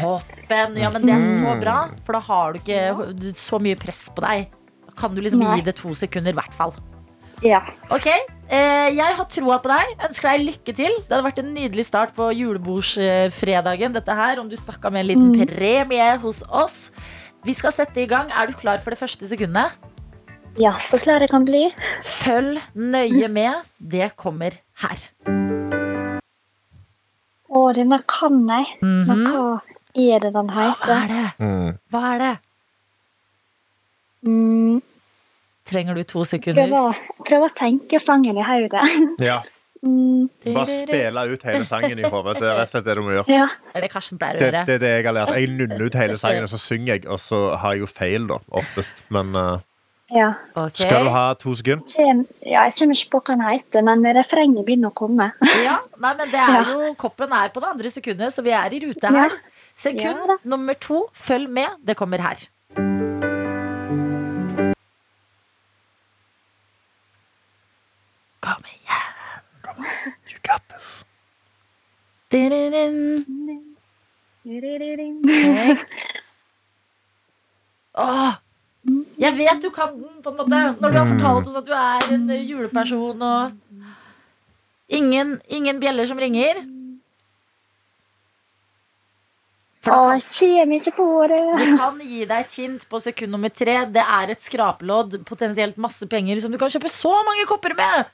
Speaker 2: Koppen. Ja, men det er så bra, for da har du ikke så mye press på deg. Da kan du liksom
Speaker 5: Nei.
Speaker 2: gi det to sekunder, i hvert fall.
Speaker 5: Ja.
Speaker 2: Ok, eh, jeg har troa på deg. Ønsker deg lykke til. Det hadde vært en nydelig start på julebordsfredagen, dette her, om du stakk av med en liten premie hos oss. Vi skal sette i gang. Er du klar for det første sekundet?
Speaker 5: ja, så klar jeg kan bli.
Speaker 2: Følg nøye med. Det kommer her.
Speaker 5: Å, denne kan jeg. Men hva er det den
Speaker 2: Hva
Speaker 5: heter?
Speaker 2: er det?
Speaker 3: Mm.
Speaker 2: Hva er det?
Speaker 5: Mm,
Speaker 2: Trenger du to
Speaker 5: prøver,
Speaker 2: sekunder?
Speaker 5: å- prøver å tenke sangen i hodet.
Speaker 3: Ja.
Speaker 5: Mm,
Speaker 3: Bare spille ut hele sangen i hodet. Det er rett og slett det du må gjøre.
Speaker 5: ja.
Speaker 2: Er det Karsten pleier å
Speaker 3: Det,
Speaker 2: gjøre?
Speaker 3: det er det jeg har lært. Jeg nunner ut hele sangen, og så synger jeg, og så har jeg jo feil, da, oftest. Men eh,
Speaker 5: ja.
Speaker 2: Ok.
Speaker 3: skal du ha to sekunder?
Speaker 5: Kjem, ja. Jeg kommer ikke på hva den heter, men refrenget begynner å komme.
Speaker 2: Ja, nei, men det er
Speaker 5: Ja.
Speaker 2: jo Koppen er på det andre sekundet, så vi er i rute
Speaker 5: Ja.
Speaker 2: her. Sekund
Speaker 5: Ja da.
Speaker 2: nummer to, følg med. Det kommer her. Kom igjen.
Speaker 3: You got this.
Speaker 2: Di-di-din. Åh. Jeg vet du kan den, på en måte, når du har fortalt oss at du er en eh, juleperson og Ingen, ingen bjeller som ringer. For da
Speaker 5: Å,
Speaker 2: kan-
Speaker 5: jeg kommer ikke på det.
Speaker 2: Vi kan gi deg et hint på sekund nummer tre. Det er et skrapelodd, potensielt masse penger, som du kan kjøpe så mange kopper med!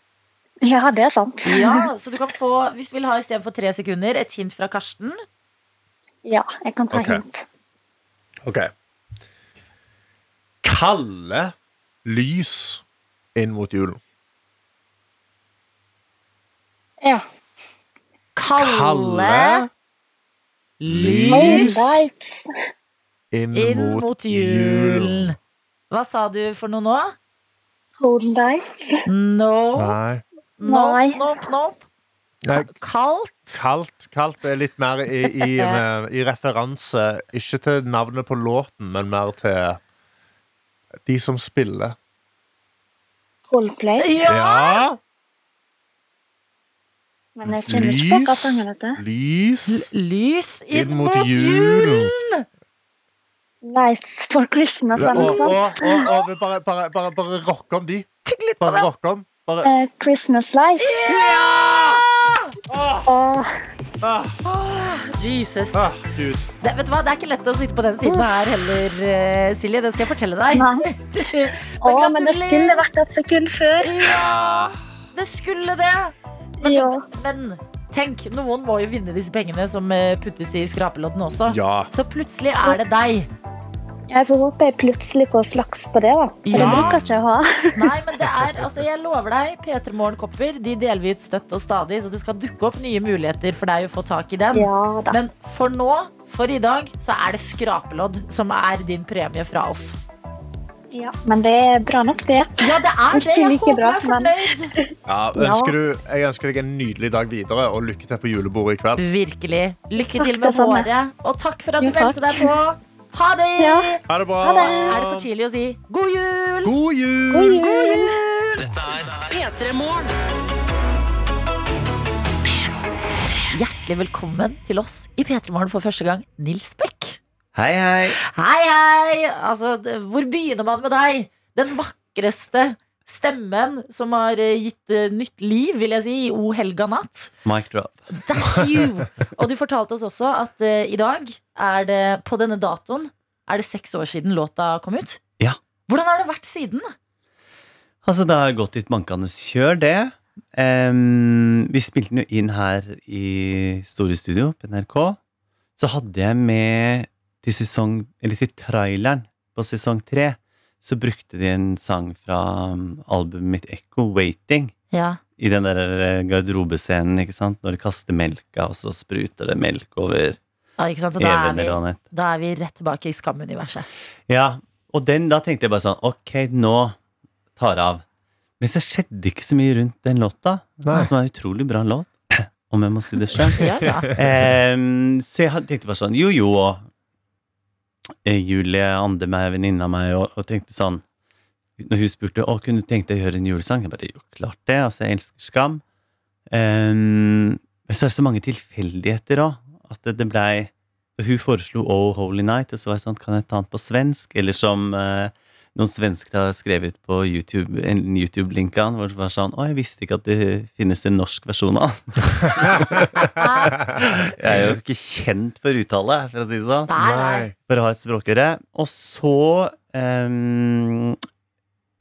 Speaker 5: Ja, det er sant.
Speaker 2: Ja, Så du kan få, hvis du vil ha istedenfor tre sekunder, et hint fra Karsten.
Speaker 5: Ja, jeg kan ta
Speaker 3: Ok.
Speaker 5: hint.
Speaker 3: OK. Kalle lys inn mot julen.
Speaker 5: Ja.
Speaker 2: Kalle
Speaker 5: All
Speaker 2: lys
Speaker 5: right.
Speaker 3: inn,
Speaker 2: inn mot julen. Hva sa du for noe nå?
Speaker 5: Hold deg.
Speaker 2: No,
Speaker 3: Nei. Eh.
Speaker 2: nope,
Speaker 5: Nei.
Speaker 2: nope, nope.
Speaker 3: Nei.
Speaker 2: Kaldt.
Speaker 3: Kaldt, kaldt er litt mer i, i, eh, i referanse Ikke til navnet på låten, men mer til de som spiller.
Speaker 5: Coldplay.
Speaker 3: Ja!
Speaker 5: Men jeg kommer ikke på hva
Speaker 3: Lys.
Speaker 5: sangen heter.
Speaker 3: Lys
Speaker 2: Lys
Speaker 3: inn mot julen.
Speaker 5: Life for Christmas altså.
Speaker 3: Og,
Speaker 5: eller noe
Speaker 3: og,
Speaker 5: sånt.
Speaker 3: og, og vi bare, bare, bare, bare rocke om de. Bare rocke om. Bare
Speaker 5: Eh, Christmas Lights.
Speaker 3: Åh,
Speaker 5: Åh,
Speaker 3: ah,
Speaker 2: Jesus.
Speaker 3: ah, Gud.
Speaker 2: Det, vet du hva, det er ikke lett å sitte på den siden her heller, eh, Silje. Det skal jeg fortelle deg.
Speaker 5: nei. Å, men det skulle vært et sekund før.
Speaker 2: Ja, det skulle det. Men,
Speaker 5: Ja.
Speaker 2: men Tenk, noen må jo vinne disse pengene som eh, puttes i skrapelodden også.
Speaker 3: Ja.
Speaker 2: Så plutselig er det deg.
Speaker 5: Jeg får håpe jeg plutselig får flaks på det, da. For
Speaker 2: Ja.
Speaker 5: det bruker ikke jeg å ha.
Speaker 2: Nei, men det er, altså jeg lover deg, P3 Morgen-kopper de deler vi ut støtt og stadig, så det skal dukke opp nye muligheter for deg å få tak i den.
Speaker 5: Ja da.
Speaker 2: Men for nå, for i dag, så er det skrapelodd som er din premie fra oss.
Speaker 5: Ja. Men det er bra nok, det.
Speaker 2: Ja, det er det.
Speaker 5: Ikke
Speaker 2: Jeg
Speaker 5: like
Speaker 2: håper du
Speaker 5: bra,
Speaker 2: er fornøyd.
Speaker 3: Ja, ønsker du, jeg ønsker deg en nydelig dag videre, og lykke til på julebordet i kveld.
Speaker 2: Virkelig. Lykke
Speaker 5: Takk,
Speaker 2: til med
Speaker 5: det samme.
Speaker 2: håret, og takk for at du
Speaker 5: Jo,
Speaker 2: meldte
Speaker 5: takk.
Speaker 2: deg på. Ha det!
Speaker 5: Ja.
Speaker 3: Ha det bra!
Speaker 2: Er det for tidlig å si god jul?
Speaker 3: God jul!
Speaker 5: God jul!
Speaker 4: Dette er
Speaker 1: P3 Morgen.
Speaker 2: Hjertelig velkommen til oss i P3 Morgen for første gang, Nils Beck.
Speaker 6: Hei, hei.
Speaker 2: Hei, hei! Altså, d- hvor begynner man med deg? Den vakreste stemmen som har eh, gitt eh, nytt liv, vil jeg si, i O helga natt.
Speaker 6: Mic drop.
Speaker 2: That's you! Og du fortalte oss også at eh, i dag, er det, på denne datoen, er det seks år siden låta kom ut.
Speaker 6: Ja.
Speaker 2: Hvordan har det vært siden?
Speaker 6: Altså, det har gått litt bankende kjør, det. Em, vi spilte den jo inn her i Store Studio på NRK. Så hadde jeg med til sesong Eller til traileren på sesong tre, så brukte de en sang fra um, albumet mitt Echo, 'Waiting'.
Speaker 2: Ja.
Speaker 6: I den der eh, garderobescenen, ikke sant? Når de kaster melka, og så spruter det melk over
Speaker 2: ikke sant? Og da
Speaker 6: hele
Speaker 2: er, vi,
Speaker 6: Melanett.
Speaker 2: da er vi rett tilbake i skamuniverset.
Speaker 6: Ja, og den, da tenkte jeg bare sånn Ok, nå tar det av. Men så skjedde det ikke så mye rundt den låta,
Speaker 3: Nei.
Speaker 6: som er en utrolig bra låt, om jeg må si det sjøl.
Speaker 2: Ja, ja.
Speaker 6: Ehm, så jeg had- tenkte bare sånn Jo, jo, og eh, Julie Andem er venninna av meg, og, og tenkte sånn Når hun spurte å, kunne du tenkt deg å gjøre en julesang, jeg bare jo, klart det. Altså, jeg elsker Skam. Ehm, men så er det så mange tilfeldigheter òg, at det, det blei for Hun foreslo Oh Holy Night, og så var jeg sånn, kan jeg ta den på svensk? Eller som eh, noen svensker har skrevet ut på YouTube, en YouTube-link av den, hvor det var sånn Å, jeg visste ikke at det finnes en norsk versjon av den.
Speaker 2: Ah,
Speaker 6: jeg er jo ikke kjent for uttale, for å si det sånn.
Speaker 2: Nei, nei.
Speaker 6: For å ha et språkøre. Og så ehm,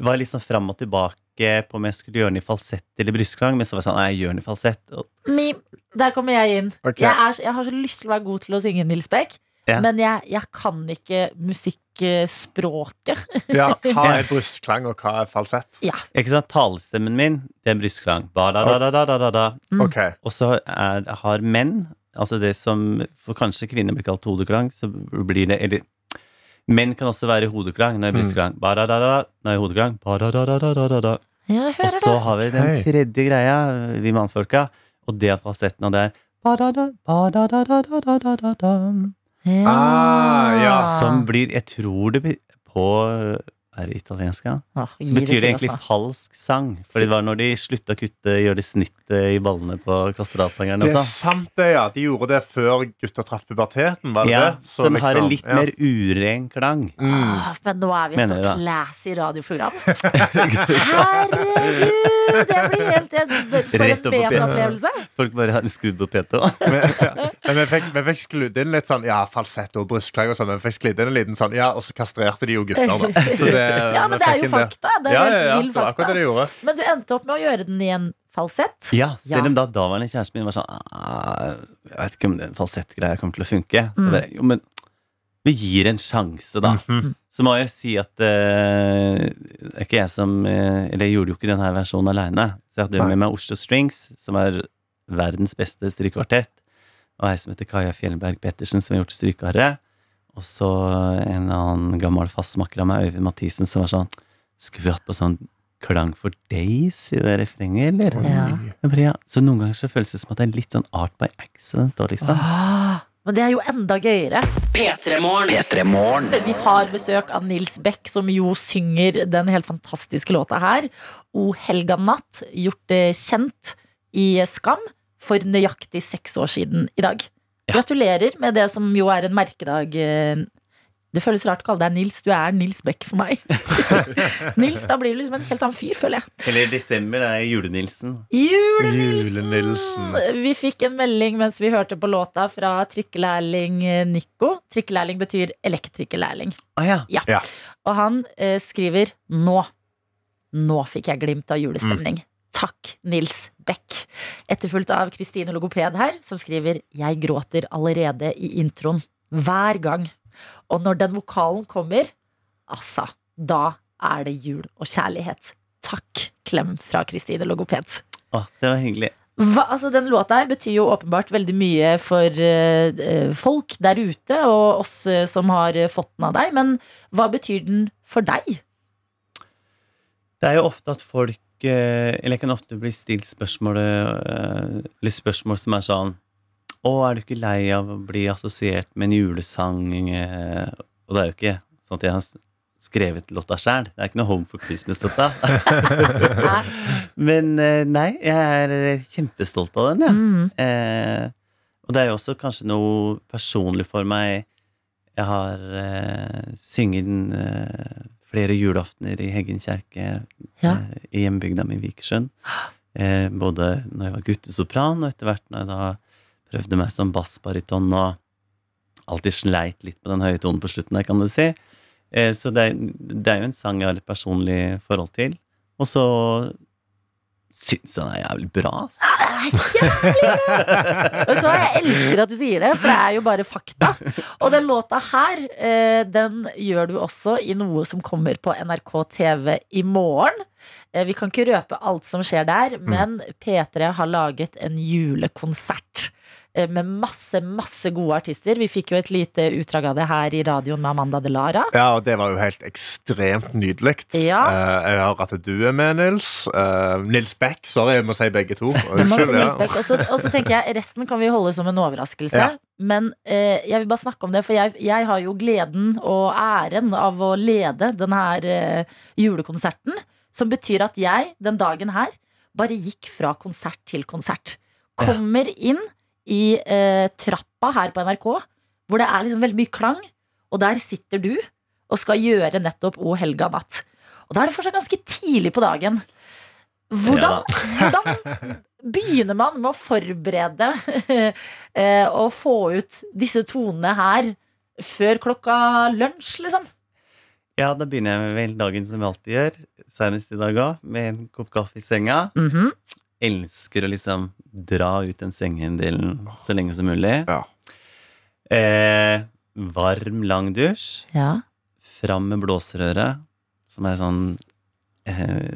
Speaker 6: var jeg liksom fram og tilbake på om jeg skulle gjøre den i falsett eller brystklang, men så var jeg sånn, nei, jeg gjør den i falsett. Og
Speaker 2: Mim. Der kommer jeg inn.
Speaker 3: Ok.
Speaker 2: Jeg, er, så- jeg har så lyst til å være god til å synge Nils Beck,
Speaker 6: Ja.
Speaker 2: men jeg, jeg kan ikke musikkspråket.
Speaker 3: Ja, hva er brystklang, og hva er falsett?
Speaker 6: Ikke sant? Talestemmen min, det er en brystklang. Ba-da-da-da-da-da-da.
Speaker 3: Ok,
Speaker 6: Og så er, har menn, altså det som for kanskje kvinner blir kalt hodeklang, så blir det Eller menn kan også være hodeklang når det er brystklang. Ba-da-da-da, når det er hodeklang. Ba-da-da-da-da-da-da.
Speaker 2: Ja, jeg
Speaker 6: Og
Speaker 2: hører
Speaker 6: så har vi den
Speaker 3: Ok.
Speaker 6: tredje greia, vi mannfolka, og det er fasetten av det er ba-da-da, ba-da-da-da-da-da-da-da.
Speaker 2: det. Ja.
Speaker 3: Ah, ja.
Speaker 6: Som blir Jeg tror det blir på Er det italiensk, ja?
Speaker 2: Åh, gi
Speaker 6: Så betyr
Speaker 2: til
Speaker 6: det
Speaker 2: oss,
Speaker 6: egentlig
Speaker 2: da.
Speaker 6: falsk sang. Fordi det var når de slutta å kutte, gjøre det snittet i ballene på kastellatsangeren
Speaker 3: Det er
Speaker 6: også.
Speaker 3: sant, det, ja. De gjorde det før gutta traff puberteten. var det
Speaker 6: Ja,
Speaker 3: det?
Speaker 6: så den har
Speaker 3: liksom,
Speaker 6: en litt
Speaker 3: ja.
Speaker 6: mer uren klang.
Speaker 3: mm.
Speaker 2: Åh, Ah, men nå er vi et så
Speaker 6: Mener jeg da.
Speaker 2: classy radioprogram. Herregud! Det blir helt en- For
Speaker 6: Rett
Speaker 2: en
Speaker 6: opp på pianoet.
Speaker 2: benopplevelse.
Speaker 6: Folk bare har skrudd på PT. da.
Speaker 3: Men vi fikk, vi fikk skludd inn litt sånn Ja, falsett og brystklang og sånn. Men vi fikk sklidd inn en liten sånn Ja, og så kastrerte de jo gutter, da. Så det,
Speaker 2: Ja, men
Speaker 3: vi
Speaker 2: det er
Speaker 3: fikk
Speaker 2: jo
Speaker 3: inn
Speaker 2: fakta. Det er
Speaker 3: ja,
Speaker 2: jo
Speaker 3: ja, ja,
Speaker 2: helt vill
Speaker 3: det var akkurat det de
Speaker 2: fakta.
Speaker 3: gjorde.
Speaker 2: Men du endte opp med å gjøre den i en falsett.
Speaker 6: Ja, selv
Speaker 2: Ja.
Speaker 6: om da daværende kjæresten min var sånn «Ah, Jeg vet ikke om den falsettgreia kommer til å funke. Så
Speaker 2: Mm.
Speaker 6: bare, jo, men vi gir en sjanse, da.
Speaker 3: Mhm.
Speaker 6: Så må jeg si at eh, det er ikke jeg som eh, Eller jeg gjorde jo ikke denne versjonen aleine. Så jeg hadde jo
Speaker 3: Nei.
Speaker 6: med meg Oslo Strings, som er verdens beste strykekvartett. Og ei som heter Kaja Fjellberg Pettersen, som har gjort strykearret. Og så en annen gammel fastmakker av meg, Øyvind Mathisen, som var sånn Skulle vi hatt på sånn klang for days i det refrenget, eller?
Speaker 2: Ja.
Speaker 6: Jeg bare, ja. Så noen ganger så føles det som at det er litt sånn art by accident òg, liksom.
Speaker 2: Ah, Men det er jo enda gøyere.
Speaker 1: P3 Morgen.
Speaker 4: P3 Morgen.
Speaker 2: Vi har besøk av Nils Beck, som jo synger den helt fantastiske låta her. O helga natt, gjort det kjent i Skam for nøyaktig seks år siden i dag. Gratulerer med det som jo er en merkedag. eh, Det føles rart å kalle deg Nils. Du er Nils Beck for meg. Nils, da blir du liksom en helt annen fyr, føler jeg.
Speaker 6: Eller i desember er Jule-Nilsen.
Speaker 2: Jule-Nilsen!
Speaker 3: Jule-Nilsen.
Speaker 2: Vi fikk en melding mens vi hørte på låta fra trikkelærling Nico. Trikkelærling betyr elektrikerlærling.
Speaker 6: Å ja.
Speaker 2: Og han eh, skriver nå. Nå fikk jeg glimt av julestemning. Takk, Nils Beck. Etterfulgt av Kristine Logoped her, som skriver 'Jeg gråter allerede i introen. Hver gang'. Og når den vokalen kommer, altså, da er det jul og kjærlighet. Takk. Klem fra Kristine Logoped.
Speaker 6: Å, det var hyggelig.
Speaker 2: Hva, altså Den låta her betyr jo åpenbart veldig mye for eh, eh, folk der ute, og oss eh, som har eh, fått den av deg. Men hva betyr den for deg?
Speaker 6: Det er jo ofte at folk eh, Eller jeg kan ofte bli stilt spørsmål eh, Eller spørsmål som er sånn Å, er du ikke lei av å bli assosiert med en julesang? eh?» Og det er jo ikke sånn at jeg har s- skrevet låta sjæl. Det er ikke noe Home for Christmas, dette.
Speaker 2: Hæ?
Speaker 6: Men eh, nei, jeg er kjempestolt av den, jeg.
Speaker 2: Mm.
Speaker 6: Eh, og det er jo også kanskje noe personlig for meg. Jeg har eh, synget den, eh, flere julaftener i Heggen kjerke
Speaker 2: Ja.
Speaker 6: eh, i hjembygda mi Vikersund. Eh, både når jeg var guttesopran, og etter hvert når jeg da prøvde meg som bassbariton og alltid sleit litt med den høye tonen på slutten der, kan du si. Eh, så det, er- det er jo en sang jeg har et personlig forhold til. Og så syns jeg den er jævlig bra, ass.
Speaker 2: Vet du hva, Jeg elsker at du sier det, for det er jo bare fakta. Og den låta her, eh, den gjør du også i noe som kommer på NRK TV i morgen. Eh, Vi kan ikke røpe alt som skjer der, men P3 har laget en julekonsert. eh, Med masse masse gode artister. Vi fikk jo et lite utdrag av det her i radioen med Amanda Delara.
Speaker 3: Ja, og det var jo helt ekstremt nydelig.
Speaker 2: Ja.
Speaker 3: Eh, jeg hører at du er med, Nils. Eh, Nils Beck. Sorry, jeg må si begge to.
Speaker 2: Det må
Speaker 3: Unnskyld.
Speaker 2: være
Speaker 3: ja.
Speaker 2: Nils Beck. Og så- Og så tenker jeg resten kan vi holde som en overraskelse.
Speaker 3: Ja.
Speaker 2: Men eh, jeg vil bare snakke om det, for jeg, jeg har jo gleden og æren av å lede denne her eh, julekonserten. Som betyr at jeg den dagen her bare gikk fra konsert til konsert. Kommer inn i eh, trappa her på NRK, hvor det er liksom veldig mye klang, og der sitter du og skal gjøre nettopp O helga natt. Og da er det fortsatt ganske tidlig på dagen. Hvordan, hvordan begynner man med å forberede eh, og få ut disse tonene her før klokka lunsj, liksom?
Speaker 6: Ja, da begynner jeg vel dagen som vi alltid gjør, senest i dag òg, med en kopp kaffe i senga. Elsker å liksom dra ut den sengehendelen så lenge som mulig.
Speaker 3: Ja.
Speaker 6: Eh, varm, lang dusj.
Speaker 2: Ja.
Speaker 6: Fram med blåserøret, som er sånn eh,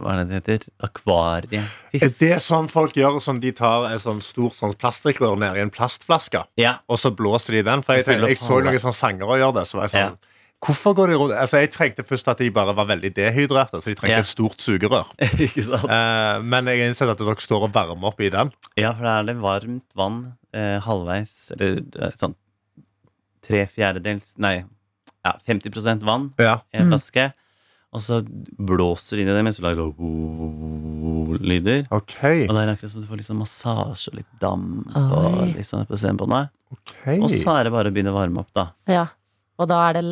Speaker 6: Hva er det det heter?
Speaker 3: Er
Speaker 6: Akvariefisk.
Speaker 3: det sånn folk gjør sånn de tar et sånn stort sånn plastikkrør ned i en plastflaske,
Speaker 6: Ja.
Speaker 3: og så blåser de i den? For jeg, tenkte, jeg så noen sånne sangere gjøre det. Så var jeg sånn Hvorfor går de rundt? Altså, Jeg trengte først at de bare var veldig dehydrerte, så de trengte
Speaker 6: Ja.
Speaker 3: et stort sugerør.
Speaker 6: Ikke sant?
Speaker 3: Eh, men jeg har innsett at dere står og varmer opp i den.
Speaker 6: Ja, for da er det varmt vann eh, halvveis, eller eh, sånn tre fjerdedels, nei, ja, 50 vann
Speaker 3: Ja.
Speaker 6: i en
Speaker 2: Mm.
Speaker 6: flaske. Og så blåser du inn i det mens du lager lyder.
Speaker 3: OK.
Speaker 6: Og da er det akkurat som du får litt sånn massasje og litt damp og
Speaker 2: Oi.
Speaker 6: litt sånn på senebåndet.
Speaker 3: ok.
Speaker 6: Og så er det bare å begynne å varme opp, da.
Speaker 2: ja. Og da er det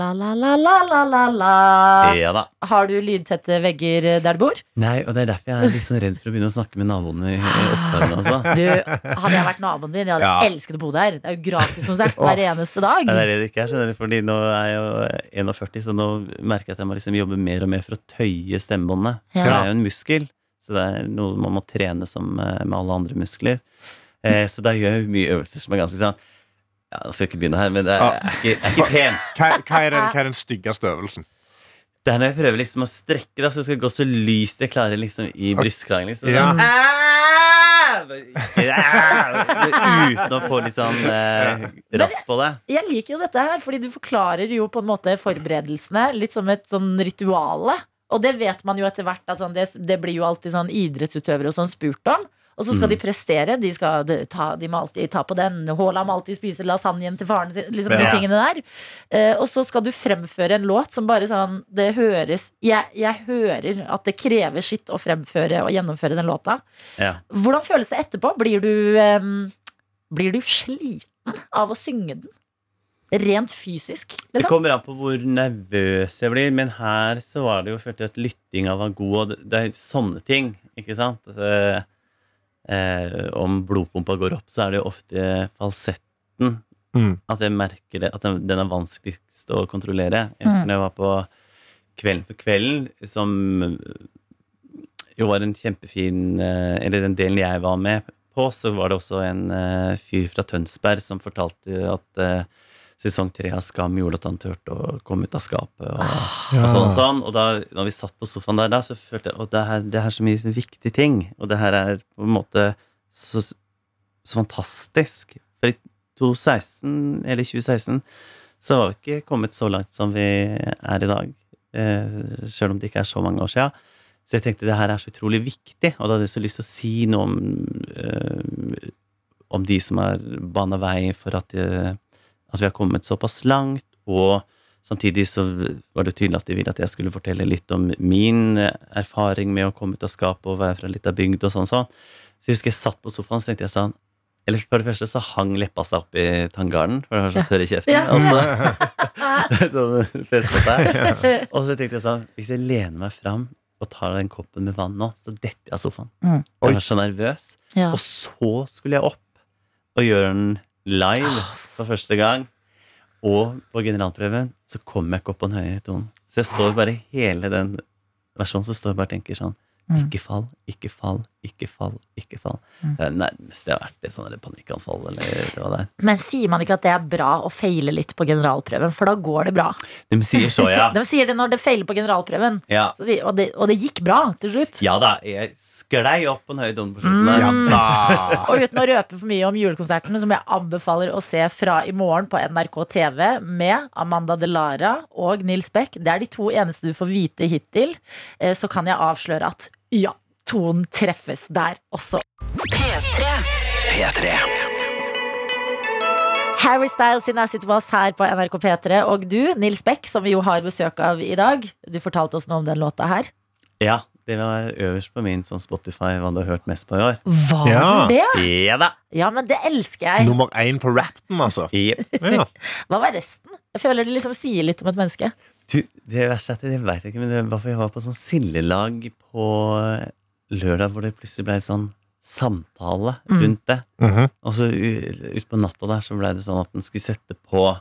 Speaker 2: la-la-la-la-la-la.
Speaker 6: Ja da.
Speaker 2: Har du lydtette vegger eh, der du bor?
Speaker 6: Nei, og det er derfor jeg er litt sånn redd for å begynne å snakke med naboene i i oppgangen, altså.
Speaker 2: Du, Hadde jeg vært naboen din, jeg hadde
Speaker 3: Ja.
Speaker 2: elsket å bo der. Det er jo gratiskonsert hver eneste dag.
Speaker 6: Nei, Det er det det ikke er, skjønner du, fordi nå er jeg jo 41, så nå merker jeg at jeg må liksom jobbe mer og mer for å tøye stemmebåndet.
Speaker 2: Ja.
Speaker 6: Det er jo en muskel, så det er noe man må trene som eh, med alle andre muskler. Eh, så da gjør jeg jo mye øvelser som er ganske sånn ja, Jeg skal ikke begynne her, men det er, er, ikke, er ikke pen.
Speaker 3: Hva, hva, er den, hva er den styggeste øvelsen?
Speaker 6: Det er når jeg prøver liksom å strekke, da, så det skal gå så lyst jeg klarer liksom i brystkrangen. Liksom,
Speaker 3: Ja.
Speaker 6: sånn, «Æ!» Æ! Uten å få litt sånn eh, rasp på det.
Speaker 2: Jeg liker jo dette her, fordi du forklarer jo på en måte forberedelsene litt som et sånn rituale. Og det vet man jo etter hvert. at sånn, det, det blir jo alltid sånn idrettsutøvere og sånn spurt om. Og så skal de prestere. De, skal d- ta, de må alltid ta på den. Haaland må alltid spise lasagnen til faren sin. Liksom de
Speaker 6: Ja.
Speaker 2: tingene der. Eh, og så skal du fremføre en låt som bare sånn Det høres Jeg, jeg hører at det krever sitt å fremføre og gjennomføre den låta.
Speaker 6: Ja.
Speaker 2: Hvordan føles det etterpå? Blir du, ehm, blir du sliten av å synge den? Rent fysisk,
Speaker 6: Det
Speaker 2: liksom?
Speaker 6: kommer an på hvor nervøs jeg blir, men her så var det jo følte jeg at lyttinga var god, og det, det er sånne ting, ikke sant? At, eh, eh, om blodpumpa går opp, så er det jo ofte falsetten.
Speaker 3: Mm.
Speaker 6: At jeg merker det, at den, den er vanskeligst å kontrollere. Jeg husker da jeg var på Kvelden for kvelden, som eh, jo var en kjempefin eh, Eller den delen jeg var med på, så var det også en eh, fyr fra Tønsberg som fortalte at eh, sesong tre av Skam gjorde at han turte å komme ut av skapet. Og, og sånn og sånn. Og da når vi satt på sofaen der, da, så følte jeg at det her, det her er så mye viktige ting. Og det her er på en måte så, så fantastisk. For i 2016, eller 2016, så var vi ikke kommet så langt som vi er i dag. Eh, Sjøl om det ikke er så mange år sia. Så jeg tenkte det her er så utrolig viktig, og da hadde jeg så lyst til å si noe om, eh, om de som har bana vei for at, eh, at vi har kommet såpass langt, og samtidig så var det tydelig at de ville at jeg skulle fortelle litt om min eh, erfaring med å komme ut av skapet og være fra litt av bygd og sånn sånn. Så jeg husker jeg satt på sofaen, så tenkte jeg sånn eller for det første så hang leppa seg opp i tanngarden, for det var så tørr i kjeften.
Speaker 2: Ja.
Speaker 6: Og så, sånn, festet seg. Og så tenkte jeg sånn Hvis jeg lener meg fram og tar den koppen med vann nå, så detter jeg av sofaen.
Speaker 2: Mm.
Speaker 3: Oi.
Speaker 6: Jeg var så nervøs.
Speaker 2: Ja.
Speaker 6: Og så skulle jeg opp og gjøre den live for første gang. Og på generalprøven så kom jeg ikke opp på den høye tonen. Så jeg står bare hele den versjonen så står jeg bare og tenker sånn
Speaker 2: Mm.
Speaker 6: Ikke fall, ikke fall, ikke fall, ikke fall.
Speaker 2: Mm.
Speaker 6: Det er nærmest jeg har vært et sånn der panikkanfall eller hva det er.
Speaker 2: Men sier man ikke at det er bra å feile litt på generalprøven? For da går det bra.
Speaker 6: De sier så, ja.
Speaker 2: De sier det når det feiler på generalprøven.
Speaker 6: ja.
Speaker 2: Så sier, og, det, og det gikk bra til slutt.
Speaker 6: Ja da, jeg sklei opp på den høye tonen på slutten.
Speaker 2: Mm.
Speaker 6: der.
Speaker 3: Ja da.
Speaker 2: Og uten å røpe for mye om julekonserten, som jeg anbefaler å se fra i morgen på NRK TV med Amanda Delara og Nils Beck, det er de to eneste du får vite hittil, eh, så kan jeg avsløre at ja, tonen treffes der også.
Speaker 4: P3.
Speaker 2: Harry Styles sin Acid Was her på NRK P3, og du, Nils Beck, som vi jo har besøk av i dag, du fortalte oss noe om den låta her.
Speaker 6: Ja, det var øverst på min sånn Spotify hva du har hørt mest på i år.
Speaker 2: Var
Speaker 3: Ja.
Speaker 2: den det?
Speaker 6: Ja da!
Speaker 2: Ja, men det elsker
Speaker 6: Hmm.
Speaker 2: jeg.
Speaker 3: Nummer én på rapten, altså.
Speaker 6: Jep.
Speaker 3: Ja.
Speaker 2: Hva var resten? Jeg føler det liksom sier litt om et menneske.
Speaker 6: Du, det verste er at jeg vet ikke, men det var for jeg var på sånn sildelag på eh, lørdag, hvor det plutselig ble sånn samtale
Speaker 2: Mm.
Speaker 6: rundt det.
Speaker 3: Mhm.
Speaker 6: Og så u- utpå natta der så ble det sånn at den skulle sette på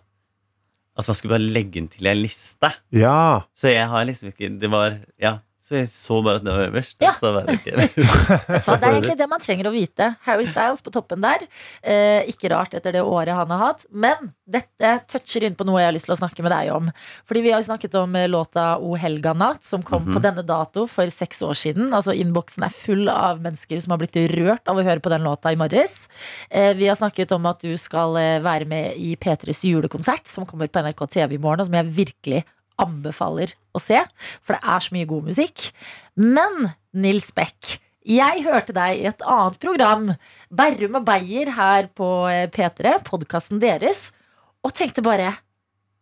Speaker 6: At man skulle bare legge den til ei liste.
Speaker 3: ja.
Speaker 6: Så jeg har liksom ikke Det var Ja. Så jeg så bare at det var øverst.
Speaker 2: Ja.
Speaker 6: og Så var det ikke.
Speaker 2: Vet du hva, Det er egentlig det man trenger å vite. Harry Styles på toppen der. Eh, ikke rart etter det året han har hatt. Men dette toucher inn på noe jeg har lyst til å snakke med deg om. Fordi vi har jo snakket om eh, låta O helga natt, som kom
Speaker 6: Mhm.
Speaker 2: på denne dato for seks år siden. Altså Innboksen er full av mennesker som har blitt rørt av å høre på den låta i morges. Eh, vi har snakket om at du skal eh, være med i P3s julekonsert, som kommer på NRK TV i morgen, og som jeg virkelig anbefaler å se. For det er så mye god musikk. Men Nils Beck, jeg hørte deg i et annet program, Berrum og Beyer her på eh, P3, podkasten deres, og tenkte bare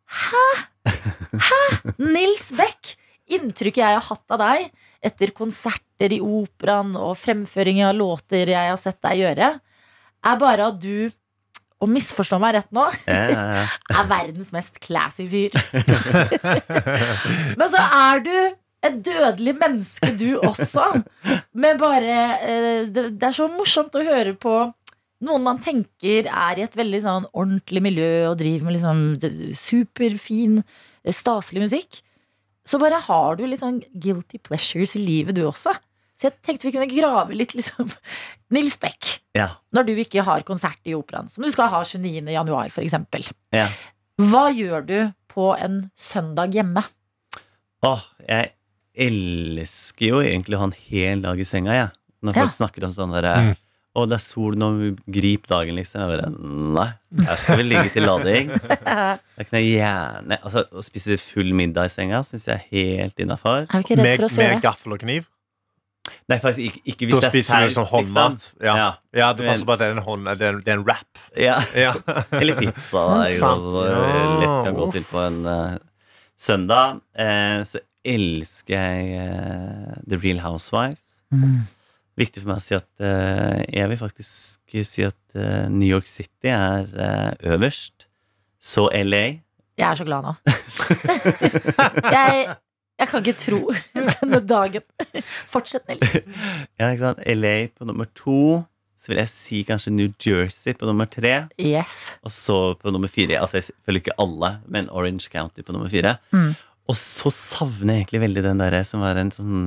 Speaker 2: Hæ? Hæ? Nils Beck! Inntrykket jeg har hatt av deg etter konserter i operaen og fremføringer av låter jeg har sett deg gjøre, er bare at du, og misforstå meg rett nå,
Speaker 6: Ja,
Speaker 2: er verdens mest classy fyr. Men så er du et dødelig menneske, du også. Men bare eh, Det det er så morsomt å høre på noen man tenker er i et veldig sånn ordentlig miljø og driver med liksom d- superfin, eh, staselig musikk. Så bare har du litt sånn guilty pleasures i livet, du også. Så jeg tenkte vi kunne grave litt, liksom. Nils Beck
Speaker 6: ja.
Speaker 2: når du ikke har konsert i operaen, som du skal ha 29. januar for eksempel.
Speaker 6: Ja.
Speaker 2: Hva gjør du på en søndag hjemme?
Speaker 6: Åh, jeg elsker jo egentlig å ha en hel dag i senga, jeg. Når
Speaker 2: Ja.
Speaker 6: folk snakker om sånn derre
Speaker 3: Mm.
Speaker 6: Å, det er sol nå, grip dagen, liksom. Jeg bare Nei, her skal vi ligge til lading. Da kan jeg gjerne Altså, å spise full middag i senga syns jeg er helt innafor.
Speaker 2: Er du ikke redd
Speaker 3: Med,
Speaker 2: for å
Speaker 3: med
Speaker 2: sove?
Speaker 3: gaffel og kniv.
Speaker 6: Nei, faktisk ikke, ikke
Speaker 3: Da
Speaker 6: hvis det er
Speaker 3: spiser du
Speaker 6: saus.
Speaker 3: som
Speaker 6: liksom.
Speaker 3: håndmat. Ja.
Speaker 6: Ja.
Speaker 3: ja, du passer på at det er en, hånd, det er en, det er en wrap.
Speaker 6: ja.
Speaker 3: Ja.
Speaker 6: Eller pizza, da.
Speaker 2: Men
Speaker 6: er jo
Speaker 3: sant.
Speaker 6: også
Speaker 3: Ja,
Speaker 6: lett kan gå
Speaker 3: uff.
Speaker 6: til på en eh, søndag. Eh, så elsker jeg eh, The Real Housewives.
Speaker 2: Mm.
Speaker 6: viktig for meg å si at eh, jeg vil faktisk si at eh, New York City er eh, øverst. Så LA.
Speaker 2: Jeg er så glad nå. jeg, jeg kan ikke tro denne dagen. Fortsett, Nils.
Speaker 6: Ja, ikke sant? LA på nummer to. Så vil jeg si kanskje New Jersey på nummer tre.
Speaker 2: Yes.
Speaker 6: Og så på nummer fire Altså, jeg følger ikke alle, men Orange County på nummer fire.
Speaker 2: Mm.
Speaker 6: Og så savner jeg egentlig veldig den derre som var en sånn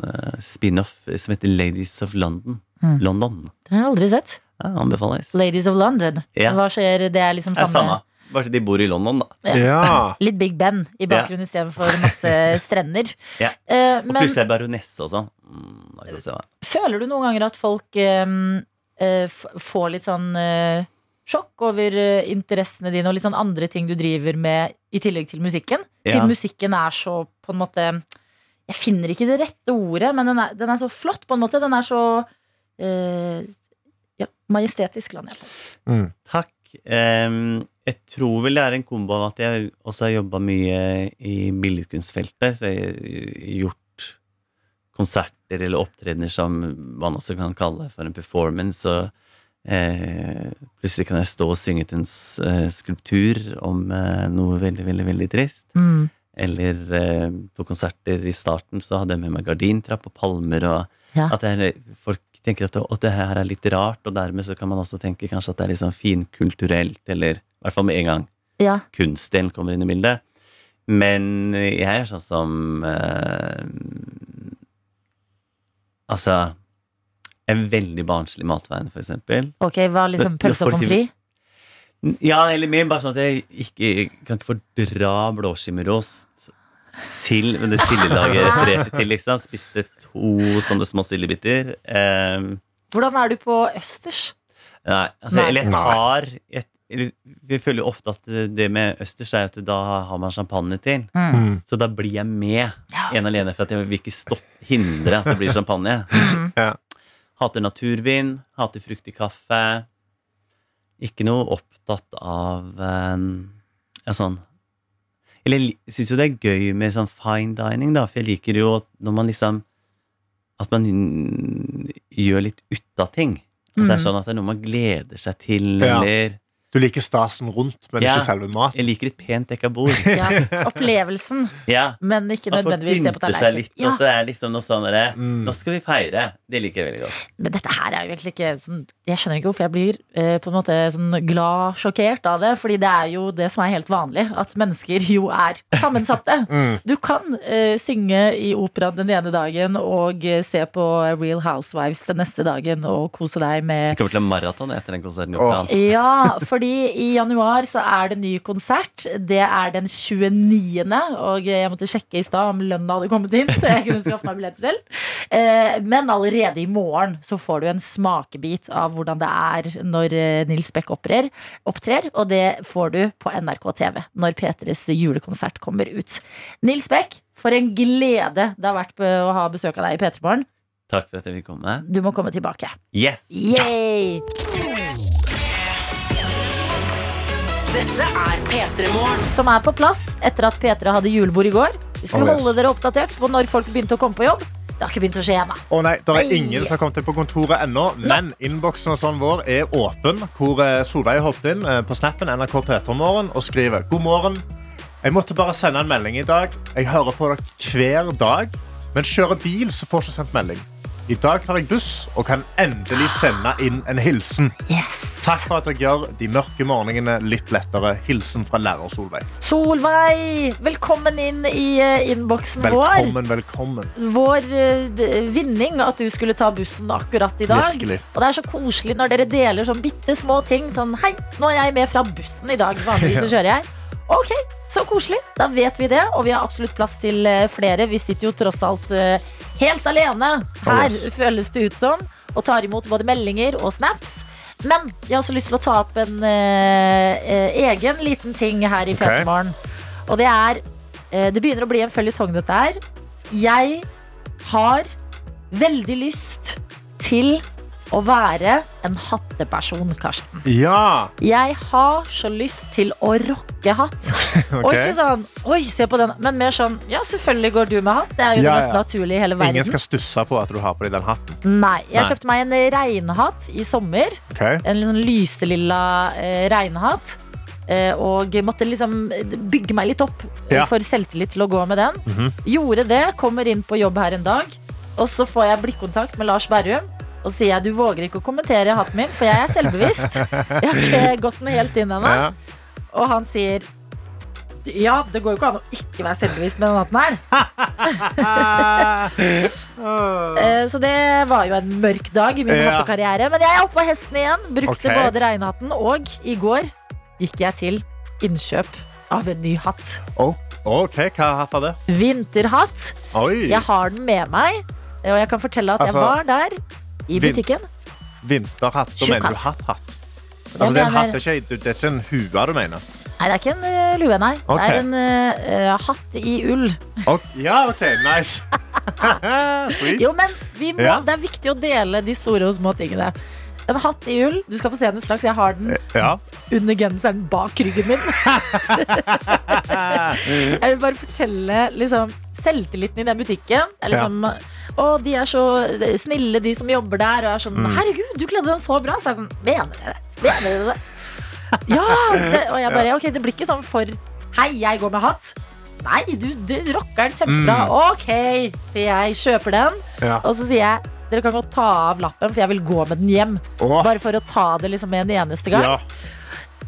Speaker 6: eh, spin-off som heter Ladies of London.
Speaker 2: Mm.
Speaker 6: London.
Speaker 2: Det har jeg aldri sett.
Speaker 6: Ja, anbefales.
Speaker 2: Ladies of London.
Speaker 6: Ja.
Speaker 2: Hva skjer? Det er liksom
Speaker 6: Det er
Speaker 2: samme,
Speaker 6: samme. Bare at de bor i London, da.
Speaker 3: Ja.
Speaker 2: Litt Big Ben i bakgrunnen istedenfor masse strender.
Speaker 6: Ja.
Speaker 2: Eh,
Speaker 6: Og
Speaker 2: men
Speaker 6: plutselig er baronesse og sånn. Mm, da kan jeg se hva.
Speaker 2: føler du noen ganger at folk eh, eh, f- får litt sånn eh, sjokk over eh, interessene dine og litt sånn andre ting du driver med i tillegg til musikken?
Speaker 6: Ja.
Speaker 2: Siden musikken er så på en måte Jeg finner ikke det rette ordet, men den er, den er så flott, på en måte. Den er så eh, ja, majestetisk, lander jeg på.
Speaker 3: Hmm.
Speaker 6: Takk. Em, jeg tror vel det er en kombo av at jeg også har jobba mye i billedkunstfeltet. Så jeg har gjort konserter eller opptredener som man også kan kalle for en performance. Og eh, plutselig kan jeg stå og synge til en s- eh, skulptur om eh, noe veldig, veldig, veldig trist.
Speaker 2: Mm.
Speaker 6: Eller eh, på konserter i starten så hadde jeg med meg gardintrapp og palmer. og
Speaker 2: Ja.
Speaker 6: at det er, Folk tenker at «Å, det her er litt rart, og dermed så kan man også tenke kanskje at det er litt sånn finkulturelt, eller i hvert fall med en gang
Speaker 2: Ja.
Speaker 6: kunstdelen kommer inn i bildet. Men jeg er sånn som eh, Altså En veldig barnslig matveien, for eksempel.
Speaker 2: Ok, hva er liksom
Speaker 6: Det- det
Speaker 2: pølse og
Speaker 6: får
Speaker 2: pommes
Speaker 6: til-
Speaker 2: frites?
Speaker 6: Ja, eller mer bare sånn at jeg ikke, jeg kan ikke fordra blåskimmerost. Sild, men det sildelaget jeg refererte til, liksom. Spiste to sånne små sildebiter. Eh,
Speaker 2: Hvordan er du på østers?
Speaker 6: nei, altså,
Speaker 2: Nei.
Speaker 6: eller jeg
Speaker 3: Nei.
Speaker 6: tar jeg, eller, Vi føler jo ofte at det med østers er at da har man champagne til.
Speaker 2: Mm.
Speaker 3: Hmm.
Speaker 6: Så da blir jeg med
Speaker 2: Ja.
Speaker 6: en alene, for at jeg vil ikke stopp, hindre at det blir champagne.
Speaker 3: Ja.
Speaker 6: Hater naturvin, hater fruktig kaffe. Ikke noe opptatt av eh, ja, sånn Eller jeg syns jo det er gøy med sånn fine dining, da, for jeg liker jo at når man liksom At man mm, gjør litt ut av ting. At det er sånn at det er noe man gleder seg til,
Speaker 3: Ja.
Speaker 6: eller
Speaker 3: Du liker stasen rundt, men
Speaker 6: Ja.
Speaker 3: ikke selve maten.
Speaker 6: Jeg liker et pent dekka bord.
Speaker 2: Ja, opplevelsen,
Speaker 6: Ja.
Speaker 2: men ikke
Speaker 6: At folk
Speaker 2: nødvendigvis det på
Speaker 6: pynter seg
Speaker 2: tallerkenen.
Speaker 6: litt, og
Speaker 2: Ja,
Speaker 6: at det er liksom noe sånn derre
Speaker 3: Mm.
Speaker 6: Nå skal vi feire. Det liker jeg veldig godt.
Speaker 2: men dette her er jo egentlig ikke sånn, Jeg skjønner ikke hvorfor jeg blir eh, på en måte sånn glad, sjokkert av det. Fordi det er jo det som er helt vanlig, at mennesker jo er sammensatte.
Speaker 3: Mm.
Speaker 2: Du kan eh, synge i operaen den ene dagen og eh, se på Real Housewives den neste dagen og kose deg med
Speaker 6: Jeg kommer til å ha maraton etter den konserten. i
Speaker 3: Åh.
Speaker 6: Oppland.
Speaker 2: Ja, fordi i januar så er det ny konsert. Det er den 29. Og jeg måtte sjekke i stad om lønna hadde kommet inn, så jeg kunne skaffe meg billett selv. Eh, Men allerede i morgen så får du en smakebit av hvordan det er når eh, Nils Beck opptrer. opptrer og det får du på NRK TV når P3s julekonsert kommer ut. Nils Beck, for en glede det har vært på- å ha besøk av deg i P3 Morgen.
Speaker 6: Takk for at jeg fikk komme.
Speaker 2: Du må komme tilbake.
Speaker 6: Yes!
Speaker 2: Yay!
Speaker 1: Dette er P3 Morgen.
Speaker 2: som er på plass etter at Petra hadde julebord i går. Vi skulle
Speaker 3: Oh, yes.
Speaker 2: holde dere oppdatert på når folk begynte å komme på jobb. Det har ikke begynt å skje ennå.
Speaker 3: Å nei, Det er
Speaker 2: Nei.
Speaker 3: ingen som har kommet inn på kontoret ennå, men innboksen og sånn vår er åpen. Hvor eh, Solveig har hoppet inn eh, på snappen NRK P3morgen og skriver God morgen. Jeg måtte bare sende en melding i dag. Jeg hører på dere hver dag, men kjører bil, så får jeg ikke sendt melding. I dag tar jeg buss og kan endelig sende inn en hilsen.
Speaker 2: Yes.
Speaker 3: Takk for at dere gjør de mørke morgenene litt lettere. Hilsen fra lærer Solveig.
Speaker 2: Solveig, velkommen inn i eh, innboksen vår.
Speaker 3: Velkommen, velkommen.
Speaker 2: Vår eh, d- vinning at du skulle ta bussen akkurat i dag.
Speaker 3: Virkelig.
Speaker 2: Og det er så koselig når dere deler sånn bitte små ting. Sånn hei, nå er jeg med fra bussen i dag. Vanligvis så kjører jeg. Ok, så koselig. Da vet vi det. Og vi har absolutt plass til eh, flere. Vi sitter jo tross alt eh, helt alene her,
Speaker 3: Oh, yes.
Speaker 2: føles det ut som. Og tar imot både meldinger og snaps. Men jeg har også lyst til å ta opp en eh, eh, egen liten ting her i
Speaker 3: Ok.
Speaker 2: P3 Morgen. Og det er eh, Det begynner å bli en føljetong, dette her. Jeg har veldig lyst til å være en hatteperson, Karsten.
Speaker 3: Ja!
Speaker 2: Jeg har så lyst til å rocke hatt. Og ikke sånn Oi, se på den. Men mer sånn Ja, selvfølgelig går du med hatt. Det er jo
Speaker 3: Ja,
Speaker 2: det
Speaker 3: ja.
Speaker 2: mest naturlige i hele verden.
Speaker 3: Ingen skal stusse på at du har på deg den hatten.
Speaker 2: Nei. Jeg
Speaker 6: Nei.
Speaker 2: kjøpte meg en regnhatt i sommer.
Speaker 3: Ok?
Speaker 2: En litt sånn lyselilla eh, regnhatt. Eh, og måtte liksom bygge meg litt opp eh,
Speaker 3: Ja.
Speaker 2: for selvtillit til å gå med den.
Speaker 3: Mhm.
Speaker 2: Gjorde det, kommer inn på jobb her en dag, og så får jeg blikkontakt med Lars Berrum. Og sier jeg du våger ikke å kommentere hatten min, for jeg er selvbevisst. Jeg har ikke gått den helt inn ennå.
Speaker 3: Ja.
Speaker 2: Og han sier Ja, det går jo ikke an å ikke være selvbevisst med den hatten her. Ah. Eh, Så det var jo en mørk dag i min
Speaker 3: Ja.
Speaker 2: hattekarriere. Men jeg er oppe på hesten igjen. Brukte
Speaker 3: Ok.
Speaker 2: både regnhatten og i går gikk jeg til innkjøp av en ny hatt.
Speaker 3: Oh, OK, hva hatt er det?
Speaker 2: Vinterhatt.
Speaker 3: Oi!
Speaker 2: Jeg har den med meg, og jeg kan fortelle at jeg
Speaker 3: Altså,
Speaker 2: var der i
Speaker 3: vin-
Speaker 2: butikken.
Speaker 3: Vinterhatt. Da
Speaker 2: Tjukk
Speaker 3: mener du
Speaker 2: hatt.
Speaker 3: hatt-hatt.
Speaker 2: Jeg
Speaker 3: Altså, det, er en hatt,
Speaker 2: mener-
Speaker 3: det, er ikke, det er ikke en hue du mener?
Speaker 2: Nei, det er ikke en eh, lue, nei.
Speaker 3: Ok.
Speaker 2: Det er en eh, eh, hatt i ull.
Speaker 3: Ok, Ja, OK, nice. Sweet.
Speaker 2: Jo, men vi må,
Speaker 3: Ja.
Speaker 2: det er viktig å dele de store og små tingene. En hatt i ull. Du skal få se den straks. Jeg har den
Speaker 3: Ja.
Speaker 2: under genseren bak ryggen min. jeg vil bare fortelle liksom, selvtilliten i den butikken. Det er liksom, Å, de er så snille, de som jobber der. Og jeg er sånn
Speaker 3: Mm.
Speaker 2: Herregud, du kledde den så bra. Så jeg er sånn Mener dere det? Mener dere det? ja! Det, og jeg bare Ok, det blir ikke sånn for Hei, jeg går med hatt. Nei, du, du rocker den kjempebra.
Speaker 3: Mm.
Speaker 2: Ok, sier jeg. Kjøper den.
Speaker 3: Ja.
Speaker 2: Og så sier jeg dere kan godt ta av lappen, for jeg vil gå med den hjem.
Speaker 3: Åh,
Speaker 2: Bare for å ta det liksom med en eneste gang.
Speaker 3: ja.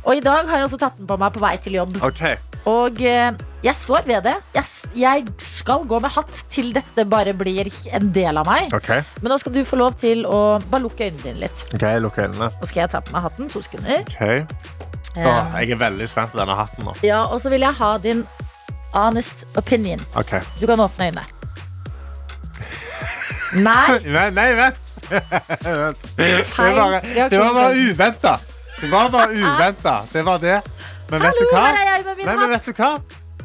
Speaker 2: Og i dag har jeg også tatt den på meg på vei til jobb.
Speaker 3: OK.
Speaker 2: Og eh, jeg står ved det. Jeg, s- jeg skal gå med hatt til dette bare blir en del av meg.
Speaker 3: ok
Speaker 2: Men nå skal du få lov til å bare lukke øynene dine litt.
Speaker 3: Ok, Lukk øynene.
Speaker 2: Nå skal jeg ta på meg hatten. To sekunder.
Speaker 3: Ok.
Speaker 2: Eh,
Speaker 3: Åh, jeg er veldig spent på denne hatten. nå
Speaker 2: ja, og så vil jeg ha din honest opinion.
Speaker 3: Ok.
Speaker 2: Du kan åpne øynene. Nei,
Speaker 3: Nei, nei, vent! Vent. Det
Speaker 2: feil
Speaker 3: var bare, det var bare uventa. Det var bare uventa. Det var det. Men vet
Speaker 2: Ah. Hallo,
Speaker 3: du hva?
Speaker 2: der er jeg med min
Speaker 3: Nei, men
Speaker 2: hatt.
Speaker 3: vet du hva?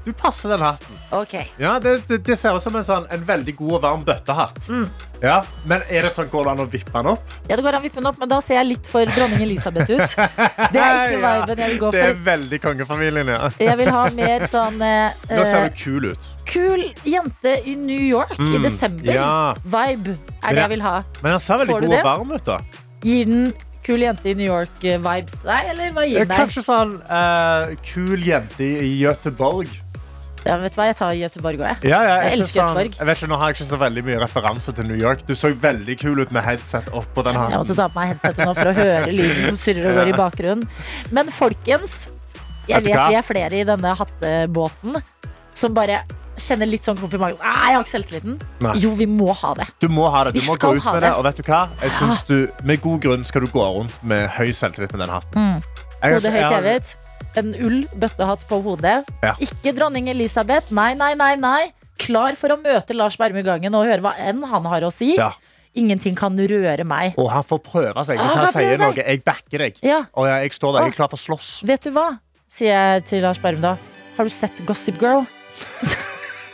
Speaker 3: Du passer den hatten.
Speaker 2: Ok.
Speaker 3: Ja, Det, det, det ser ut som en, sånn, en veldig god og varm bøttehatt.
Speaker 2: Mm.
Speaker 3: Ja, Men er det sånn, går det an å vippe den opp?
Speaker 2: Ja, det går an å vippe den opp, men da ser jeg litt for dronning Elisabeth ut. Det er ikke
Speaker 3: Ja,
Speaker 2: viben jeg vil gå
Speaker 3: Det er
Speaker 2: for.
Speaker 3: veldig kongefamilien, ja.
Speaker 2: Jeg vil ha mer sånn eh,
Speaker 3: Nå ser
Speaker 2: eh,
Speaker 3: du kul ut.
Speaker 2: kul jente i New York i
Speaker 3: Mm,
Speaker 2: desember.
Speaker 3: ja.
Speaker 2: Vibe er det jeg vil ha.
Speaker 3: Men han ser veldig
Speaker 2: Får du
Speaker 3: god
Speaker 2: det?
Speaker 3: og varm ut. da
Speaker 2: Gir den kul jente i New York-vibes til deg, eller hva gir den deg?
Speaker 3: Kanskje sånn eh, kul jente i i Göteborg.
Speaker 2: Ja, vet du hva, jeg tar Göteborg òg, jeg.
Speaker 3: Ja, ja,
Speaker 2: Jeg
Speaker 3: ikke
Speaker 2: elsker
Speaker 3: sånn-
Speaker 2: Göteborg.
Speaker 3: Jeg vet ikke, Nå har jeg ikke så veldig mye referanse til New York. Du så veldig kul ut med headset oppå den
Speaker 2: Jeg
Speaker 3: hatten.
Speaker 2: måtte ta på meg headsetet nå for å høre lyden som surrer og går i bakgrunnen. Men folkens, jeg
Speaker 3: Vet du
Speaker 2: vet
Speaker 3: hva?
Speaker 2: vi er flere i denne hattebåten som bare kjenner litt sånn klump i magen. Nei, jeg har ikke selvtilliten.
Speaker 3: Nei.
Speaker 2: Jo, vi må ha det.
Speaker 3: Du må ha det. Du
Speaker 2: Vi
Speaker 3: må
Speaker 2: skal
Speaker 3: gå ut
Speaker 2: ha
Speaker 3: med
Speaker 2: det. Ah.
Speaker 3: det. Og vet du hva? Jeg synes du, Med god grunn skal du gå rundt med høy selvtillit med den hatten.
Speaker 2: Mm.
Speaker 3: Jeg har
Speaker 2: Hodet
Speaker 3: ikke- jeg
Speaker 2: høyt
Speaker 3: har-
Speaker 2: hevet. En ull bøttehatt på hodet.
Speaker 3: Ja.
Speaker 2: Ikke dronning Elisabeth. Nei, nei, nei. nei. Klar for å møte Lars Berme Gangen og høre hva enn han har å si.
Speaker 3: Ja.
Speaker 2: Ingenting kan røre meg.
Speaker 3: Og han får prøve seg. Hvis
Speaker 2: Ah,
Speaker 3: han
Speaker 2: han prøver
Speaker 3: sier noe,
Speaker 2: seg.
Speaker 3: jeg backer deg.
Speaker 2: Ja,
Speaker 3: Og jeg, jeg står der, jeg er klar for å slåss.
Speaker 2: vet du hva? Sier jeg til Lars Berme da. Har du sett Gossip Girl?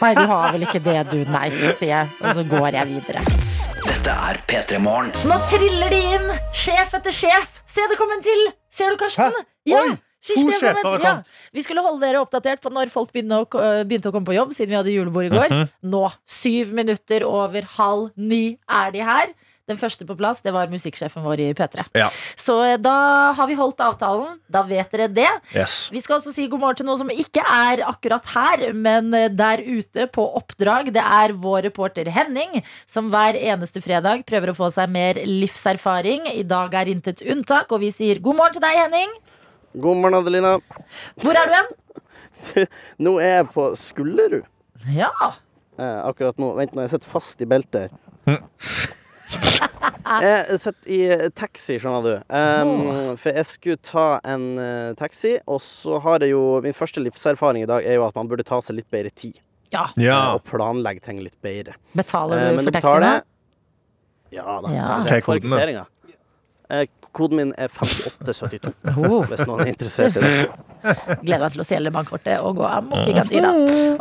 Speaker 2: nei, du har vel ikke det, du. Nei, sier jeg. Og så går jeg videre.
Speaker 4: Dette er P3 Morgen.
Speaker 2: Nå triller de inn, sjef etter sjef. Se, det kom en til! Ser du, Karsten?
Speaker 3: Hæ? Oi,
Speaker 2: Kirsti, det
Speaker 3: to
Speaker 2: kom en
Speaker 3: sjefer har
Speaker 2: til. Ja.
Speaker 3: kommet.
Speaker 2: Vi skulle holde dere oppdatert på når folk begynte å, øh, begynte å komme på jobb, siden vi hadde julebord i går.
Speaker 3: Mhm.
Speaker 2: Nå, syv minutter over halv ni, er de her. Den første på plass, det var musikksjefen vår i P3.
Speaker 3: Ja.
Speaker 2: Så øh, da har vi holdt avtalen. Da vet dere det.
Speaker 3: Yes.
Speaker 2: Vi skal også si god morgen til noen som ikke er akkurat her, men eh, der ute på oppdrag. Det er vår reporter Henning, som hver eneste fredag prøver å få seg mer livserfaring. I dag er intet unntak, og vi sier god morgen til deg, Henning.
Speaker 7: God morgen, Adelina.
Speaker 2: Hvor er du hen?
Speaker 7: Nå er jeg på Skullerud.
Speaker 2: Ja,
Speaker 7: Eh, akkurat nå. Vent, nå, jeg sitter fast i beltet her. Jeg sitter i eh, taxi, skjønner du. Em, for jeg skulle ta en eh, taxi, og så har jeg jo Min første livserfaring i dag er jo at man burde ta seg litt bedre tid.
Speaker 2: ja.
Speaker 7: eh,
Speaker 3: Ja.
Speaker 7: Og planlegge ting litt bedre.
Speaker 2: Betaler
Speaker 7: Eh,
Speaker 2: du for taxien? da?
Speaker 7: jeg- Ja da.
Speaker 2: Ja.
Speaker 7: så
Speaker 2: Hva
Speaker 3: er
Speaker 7: jeg får
Speaker 3: koden, da?
Speaker 7: kvitteringa. Eh, koden min er 5872,
Speaker 2: Oh,
Speaker 7: hvis noen er interessert i det.
Speaker 2: gleder meg til å stjele bankkortet og gå amok i kantina.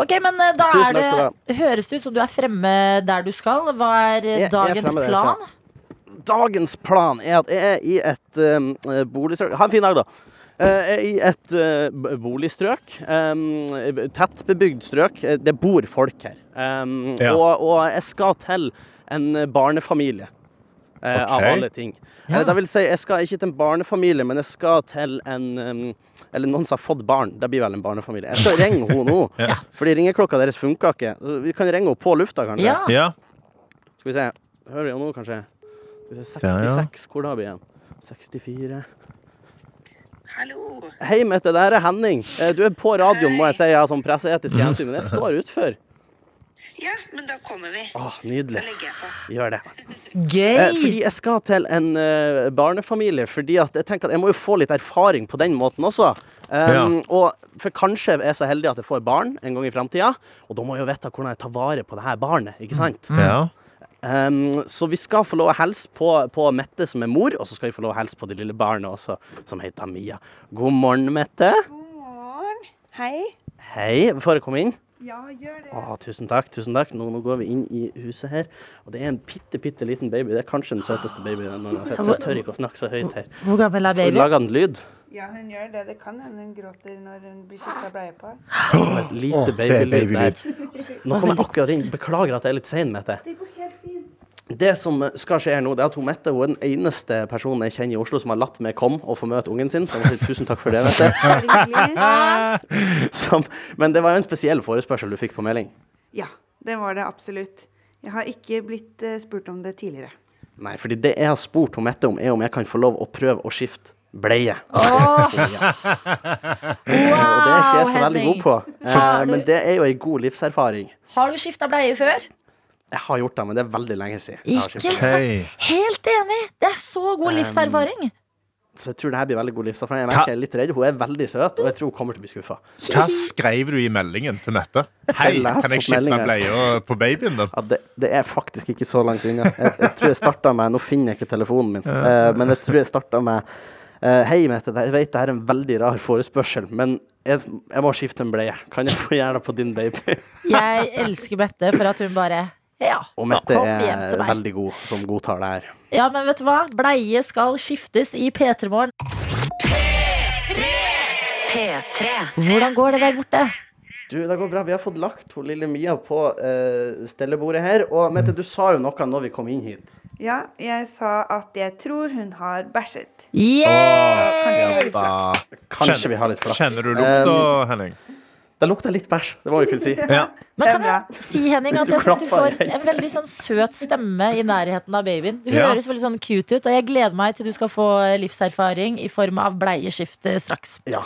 Speaker 2: Ok, men eh, da
Speaker 7: Tusen
Speaker 2: er
Speaker 7: takk skal
Speaker 2: det, høres det ut som du er fremme der du skal. Hva er eh,
Speaker 7: Jeg- jeg er
Speaker 2: dagens
Speaker 7: fremme der jeg skal.
Speaker 2: plan?
Speaker 7: Dagens plan er at jeg er i et um, boligstrøk Ha en fin dag, da. Eh, Jeg er i et eh, b- boligstrøk. Um, tett bebygd strøk. Eh, Det bor folk her. Um,
Speaker 3: Ja.
Speaker 7: og, og jeg skal til en barnefamilie. eh, Av
Speaker 3: Ok.
Speaker 7: alle ting. Eh,
Speaker 2: Ja.
Speaker 7: Det vil si, jeg skal ikke til en barnefamilie, men jeg skal til en um, Eller noen som har fått barn. Det blir vel en barnefamilie. Jeg skal ringe henne nå, fordi ringeklokka deres funka ikke. Vi kan ringe henne på lufta, kanskje.
Speaker 2: Ja.
Speaker 3: Ja.
Speaker 7: Skal vi se. Hører vi jo nå, kanskje? Skal vi se,
Speaker 3: Ja, ja.
Speaker 7: 66. Hvor da blir vi igjen? 64
Speaker 1: Hallo.
Speaker 7: Hei, Mette, det her er Henning. Eh, Du er på radioen, må jeg si, av sånn presseetiske hensyn, men jeg står utfor.
Speaker 1: Ja, men da kommer vi.
Speaker 7: Åh, nydelig.
Speaker 1: Da legger jeg på.
Speaker 7: Gjør det. Eh,
Speaker 2: Gøy!
Speaker 7: Fordi jeg skal til en eh, barnefamilie, fordi at jeg tenker at jeg må jo få litt erfaring på den måten også. Um, Og for kanskje jeg er så heldig at jeg får barn en gang i framtida, og da må jeg jo vite hvordan jeg tar vare på det her barnet, ikke sant?
Speaker 3: Ja.
Speaker 7: Um, så vi skal få lov å hilse på, på Mette, som er mor, og så skal vi få lov å hilse på det lille barnet også, som heter Mia. God morgen, Mette.
Speaker 8: morgen. Hei.
Speaker 7: Hei, får jeg komme inn?
Speaker 8: Ja, gjør det.
Speaker 7: Å, tusen takk. tusen takk. Nå, nå går vi inn i huset her. Og det er en bitte, bitte liten baby. Det er kanskje den søteste babyen jeg noen gang har sett. Så jeg tør ikke å snakke så høyt her.
Speaker 2: Hvor gammel er
Speaker 7: Hun
Speaker 2: babyen?
Speaker 7: lager en lyd.
Speaker 8: Ja, hun gjør det. Det kan hende hun gråter når hun blir skifta bleie på.
Speaker 7: Og et lite
Speaker 3: Åh, det er
Speaker 7: babylyd
Speaker 3: babylyd.
Speaker 7: der. Nå kom jeg akkurat inn. Beklager at jeg er litt sein, Mette.
Speaker 8: Det går helt fint.
Speaker 7: Det som skal skje her nå, det er at hun Mette hun er den eneste personen jeg kjenner i Oslo som har latt meg komme og få møte ungen sin. Så jeg må si tusen takk for det, Mette.
Speaker 8: Er det hyggelig?
Speaker 7: Som, men det var jo en spesiell forespørsel du fikk på melding.
Speaker 8: Ja, det var det absolutt. Jeg har ikke blitt eh, spurt om det tidligere.
Speaker 7: Nei, fordi det jeg har spurt hun Mette om, er om jeg kan få lov å prøve å skifte bleie. Og det er ikke jeg så veldig god på. Eh,
Speaker 2: Har du-
Speaker 7: men det er jo ei god livserfaring.
Speaker 2: Har du skifta bleie før?
Speaker 7: Jeg har gjort det, men det er veldig lenge siden. jeg har skiftet
Speaker 2: Ikke sant? Helt enig! Det er så god livserfaring.
Speaker 7: Så jeg tror det her blir veldig god livserfaring. Jeg merker jeg er litt redd. Hun er veldig søt, og jeg tror hun kommer til å bli skuffa.
Speaker 3: Hva skrev du i meldingen til Mette? Hei,
Speaker 7: jeg lese
Speaker 3: kan jeg
Speaker 7: opp
Speaker 3: skifte
Speaker 7: meldingen?
Speaker 3: bleia på babyen din?
Speaker 7: Ja, det, det er faktisk ikke så langt unna. Jeg, jeg tror jeg starta med Nå finner jeg ikke telefonen min, eh, men jeg tror jeg starta med eh, Hei, Mette, jeg vet det her er en veldig rar forespørsel, men jeg, jeg må skifte en bleie. Kan jeg få gjøre det på din baby?
Speaker 2: Jeg elsker Mette for at hun bare ja,
Speaker 7: Og Mette
Speaker 2: kom hjem
Speaker 7: er
Speaker 2: til meg.
Speaker 7: veldig god som godtar det her.
Speaker 2: Ja, men vet du hva? Bleie skal skiftes i P3 Morgen.
Speaker 1: P3.
Speaker 2: Hvordan går det der borte?
Speaker 7: Du, det går bra. Vi har fått lagt hun lille Mia på eh, stellebordet her. Og Mette, du sa jo noe når vi kom inn hit.
Speaker 8: Ja, jeg sa at jeg tror hun har bæsjet.
Speaker 2: Yeah!
Speaker 3: Da
Speaker 7: Kanskje
Speaker 3: Kjenner-
Speaker 7: vi har litt flaks.
Speaker 3: kjenner du lukta,
Speaker 7: Eh,
Speaker 3: Henning.
Speaker 7: det lukter litt bæsj, det må vi kunne si.
Speaker 3: Ja.
Speaker 2: Men kan
Speaker 8: Det er
Speaker 2: jeg si, Henning, at
Speaker 7: Du
Speaker 2: jeg syns du
Speaker 7: klapper,
Speaker 2: får
Speaker 7: jeg.
Speaker 2: en veldig sånn søt stemme i nærheten av babyen. Du
Speaker 3: Ja.
Speaker 2: høres veldig sånn cute ut, og jeg gleder meg til du skal få livserfaring i form av bleieskifte straks.
Speaker 7: Ja.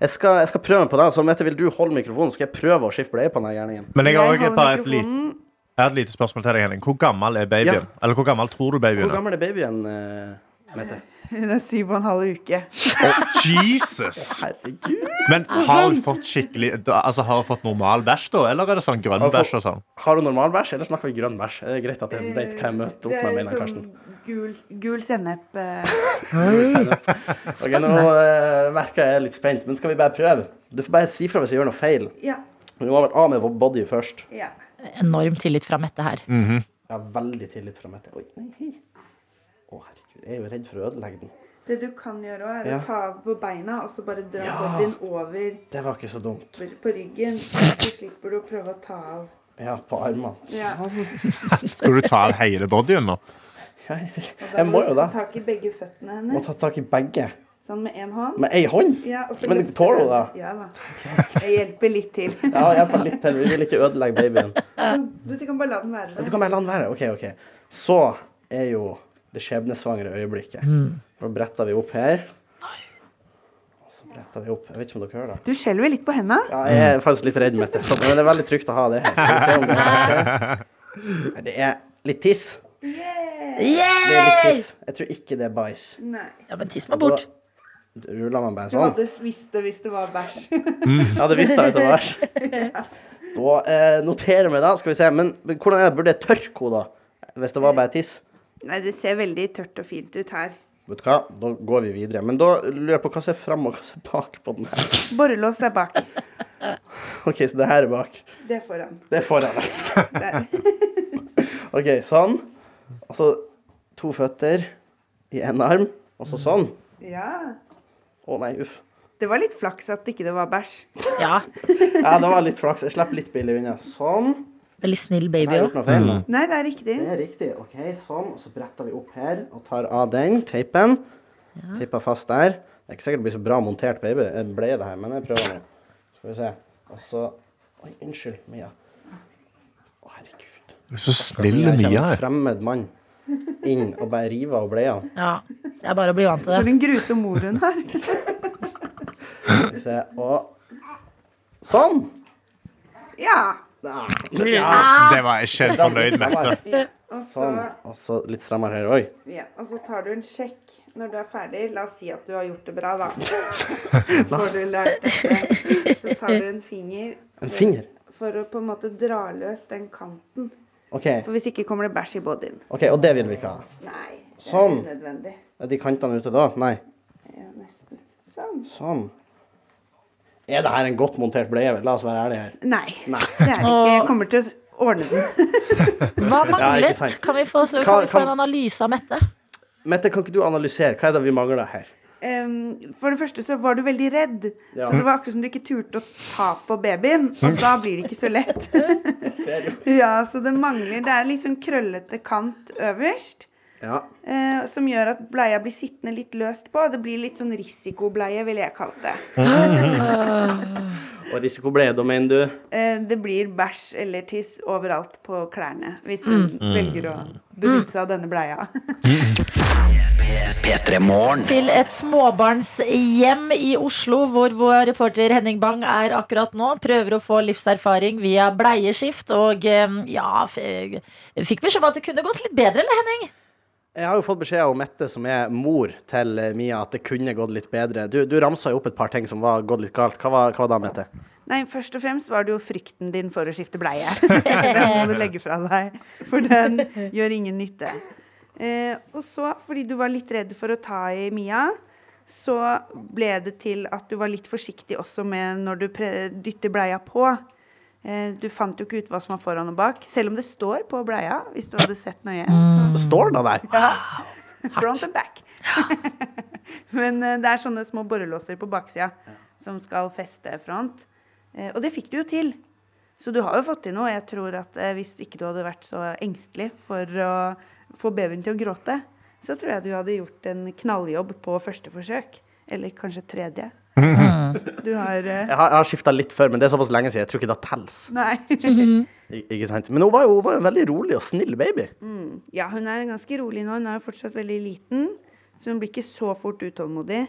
Speaker 7: Jeg skal, jeg skal prøve meg på det. Så Mette, vil du holde mikrofonen? Skal jeg prøve å skifte bleie på denne gjerningen?
Speaker 3: Men jeg har
Speaker 8: Jeg
Speaker 3: også
Speaker 8: holder
Speaker 3: bare et lite
Speaker 8: mikrofonen.
Speaker 3: Jeg har et lite spørsmål til deg, Henning. Hvor gammel er babyen? Eller hvor gammel tror du babyen
Speaker 7: Hvor
Speaker 3: er?
Speaker 7: gammel er babyen, eh, Mette?
Speaker 8: Hun er syv og en halv uke.
Speaker 3: Jesus!
Speaker 7: Herregud.
Speaker 3: Men har hun fått skikkelig da- Altså, har hun fått normal bæsj, da? Eller er det sånn grønn
Speaker 7: Har hun fått-
Speaker 3: bæsj og sånn?
Speaker 7: Har du normal bæsj, eller snakker vi grønn bæsj? Det er greit at jeg vet hva jeg møter opp med, mener Karsten.
Speaker 8: sånn Gul, gul sennep. eh.
Speaker 7: Ok, Nå eh, merker jeg jeg er litt spent, men skal vi bare prøve? Du får bare si fra hvis jeg gjør noe feil.
Speaker 8: Ja.
Speaker 7: Vi må ha vært av med body først.
Speaker 8: ja.
Speaker 2: Enorm tillit fra Mette her.
Speaker 7: Jeg har veldig tillit fra Mette. Oi, nei, hei. Å, herregud, jeg er jo redd for å ødelegge den.
Speaker 8: Det du kan gjøre òg, er
Speaker 7: Ja.
Speaker 8: å ta av på beina og så bare dra
Speaker 7: Ja.
Speaker 8: bodyen over
Speaker 7: Det var ikke så dumt.
Speaker 8: på ryggen. Så slipper du å prøve å ta av.
Speaker 7: Ja, på armene.
Speaker 8: Ja.
Speaker 3: Skal du ta av hele bodyen nå?
Speaker 7: Ja, jeg, jeg må jo det.
Speaker 8: Ta tak i begge føttene
Speaker 7: Må
Speaker 8: hennes.
Speaker 7: ta tak i begge.
Speaker 8: Sånn med én hånd.
Speaker 7: Med ei hånd?
Speaker 8: Ja, og så
Speaker 7: Men
Speaker 8: løfter
Speaker 7: tåler
Speaker 8: du
Speaker 7: hun det?
Speaker 8: den. Ja da. Jeg hjelper litt til.
Speaker 7: Ja, jeg er på litt til. Vi vil ikke ødelegge babyen.
Speaker 8: Du kan bare la den være
Speaker 7: Du
Speaker 8: der.
Speaker 7: kan bare la den være. OK, OK. Så er jo det skjebnesvangre øyeblikket. Nå bretter vi opp her. Og så bretter vi opp Jeg vet ikke om dere hører det.
Speaker 8: Du skjelver litt på henda.
Speaker 7: Ja, jeg er faktisk litt redd, Mette. Så- Men det er veldig trygt å ha det her. Skal vi se om det er- Nei, Det er litt tiss. Det er litt
Speaker 2: Yeah!
Speaker 7: tiss. Jeg tror ikke det er bæsj.
Speaker 8: Nei.
Speaker 2: Ja, men tiss meg bort.
Speaker 7: Da Ruller man bare
Speaker 8: Du
Speaker 7: sånn?
Speaker 8: hadde visst det hvis det var bæsj.
Speaker 7: Jeg hadde visst det etter hvert. Da eh, noterer vi det. Skal vi se. Men, men hvordan er det? Burde jeg tørke henne, da? Hvis det var bare tiss?
Speaker 8: Nei, det ser veldig tørt og fint ut her.
Speaker 7: Vet du hva, da går vi videre. Men da lurer jeg på hva som er fram og hva som er bak på den her.
Speaker 8: Borrelås er bak.
Speaker 7: OK, så det her er bak.
Speaker 8: Det er foran.
Speaker 7: Det er foran.
Speaker 8: Der.
Speaker 7: OK, sånn. Og så to føtter i én arm, og så sånn.
Speaker 8: Ja.
Speaker 7: Å nei, uff.
Speaker 8: Det var litt flaks at ikke det var bæsj.
Speaker 2: Ja,
Speaker 7: Ja, det var litt flaks. Jeg slapp litt billig unna. Sånn.
Speaker 2: Veldig snill
Speaker 7: Jeg har
Speaker 2: baby
Speaker 7: jeg
Speaker 2: òg.
Speaker 7: gjort noe feil. nå?
Speaker 8: Nei, det er riktig.
Speaker 7: Det er riktig. OK, sånn. Og så bretter vi opp her og tar av den teipen. Teipa fast der. Det er ikke sikkert det blir så bra montert baby, eh, bleie, det her, men jeg prøver nå. Skal vi se. Og så Oi, unnskyld, Mia. Å, herregud.
Speaker 3: Du er Så snill Mia
Speaker 7: Jeg kommer en
Speaker 3: er.
Speaker 7: fremmed mann inn og bare river av bleia.
Speaker 2: Ja, det er bare å bli vant til det.
Speaker 8: For en grusom mor hun har.
Speaker 7: Skal vi se, og Sånn! Ah,
Speaker 8: Ja.
Speaker 2: Ah!
Speaker 3: Det var jeg ikke helt fornøyd med.
Speaker 7: Sånn. Og så litt strammere her òg.
Speaker 8: ja. Og så tar du en sjekk når du er ferdig. La oss si at du har gjort det bra, da. Får du lært dette. Så tar du en finger
Speaker 7: En finger.
Speaker 8: for å på en måte dra løs den kanten.
Speaker 7: OK,
Speaker 8: For hvis ikke kommer det bæsj i bodyen.
Speaker 7: ok, og det vil vi ikke ha.
Speaker 8: Nei, det er
Speaker 7: Sånn.
Speaker 8: unødvendig.
Speaker 7: Er de kantene ute da? Nei.
Speaker 8: Ja, nesten. Sånn.
Speaker 7: Sånn. Er det her en godt montert bleie? La oss være ærlige her.
Speaker 8: Nei. Det er det ikke. Jeg kommer til å ordne den.
Speaker 2: Hva manglet?
Speaker 7: sant.
Speaker 2: Kan vi få, kan vi få en analyse av Mette?
Speaker 7: Mette, kan ikke du analysere? Hva er det vi mangler her?
Speaker 8: Em, for det første så var du veldig redd.
Speaker 7: Ja.
Speaker 8: Så det var akkurat som du ikke turte å ta på babyen. Og da blir det ikke så lett. ja, så det mangler Det er litt sånn krøllete kant øverst.
Speaker 7: Ja.
Speaker 8: eh, som gjør at bleia blir sittende litt løst på. Det blir litt sånn risikobleie, ville jeg kalt det.
Speaker 7: Og risikobleie, da mener du?
Speaker 8: Eh, det blir bæsj eller tiss overalt på klærne hvis du velger å benytte seg av denne bleia.
Speaker 4: P3 Morgen.
Speaker 2: Til et småbarnshjem i Oslo, hvor vår reporter Henning Bang er akkurat nå. Prøver å få livserfaring via bleieskift, og eh, ja f Fikk beskjed om at det kunne gått litt bedre, eller, Henning?
Speaker 7: Jeg har jo fått beskjed av Mette, som er mor til eh, Mia, at det kunne gått litt bedre. Du, du ramsa jo opp et par ting som var gått litt galt. Hva var, hva var da, Mette?
Speaker 8: Nei, først og fremst var det jo frykten din for å skifte bleie. den må du legge fra deg, for den gjør ingen nytte. Eh, og så, fordi du var litt redd for å ta i Mia, så ble det til at du var litt forsiktig også med når du pre dytter bleia på. Eh, du fant jo ikke ut hva som var foran og bak, selv om det står på bleia, hvis du hadde sett nøye. Så
Speaker 7: Står den da der?
Speaker 8: Front and back. Men eh, det er sånne små borrelåser på baksida som skal feste front. Eh, og det fikk du jo til. Så du har jo fått til noe. Jeg tror at eh, Hvis ikke du hadde vært så engstelig for å få babyen til å gråte, så tror jeg du hadde gjort en knalljobb på første forsøk. Eller kanskje tredje. Du har eh,
Speaker 7: Jeg har, jeg har skifta litt før, men det er såpass lenge siden. Jeg tror ikke det telles.
Speaker 8: Nei.
Speaker 7: Ik ikke sant? Men hun var jo hun var jo en veldig rolig og snill baby.
Speaker 8: Mm. Ja, hun er ganske rolig nå. Hun er jo fortsatt veldig liten, så hun blir ikke så fort utålmodig.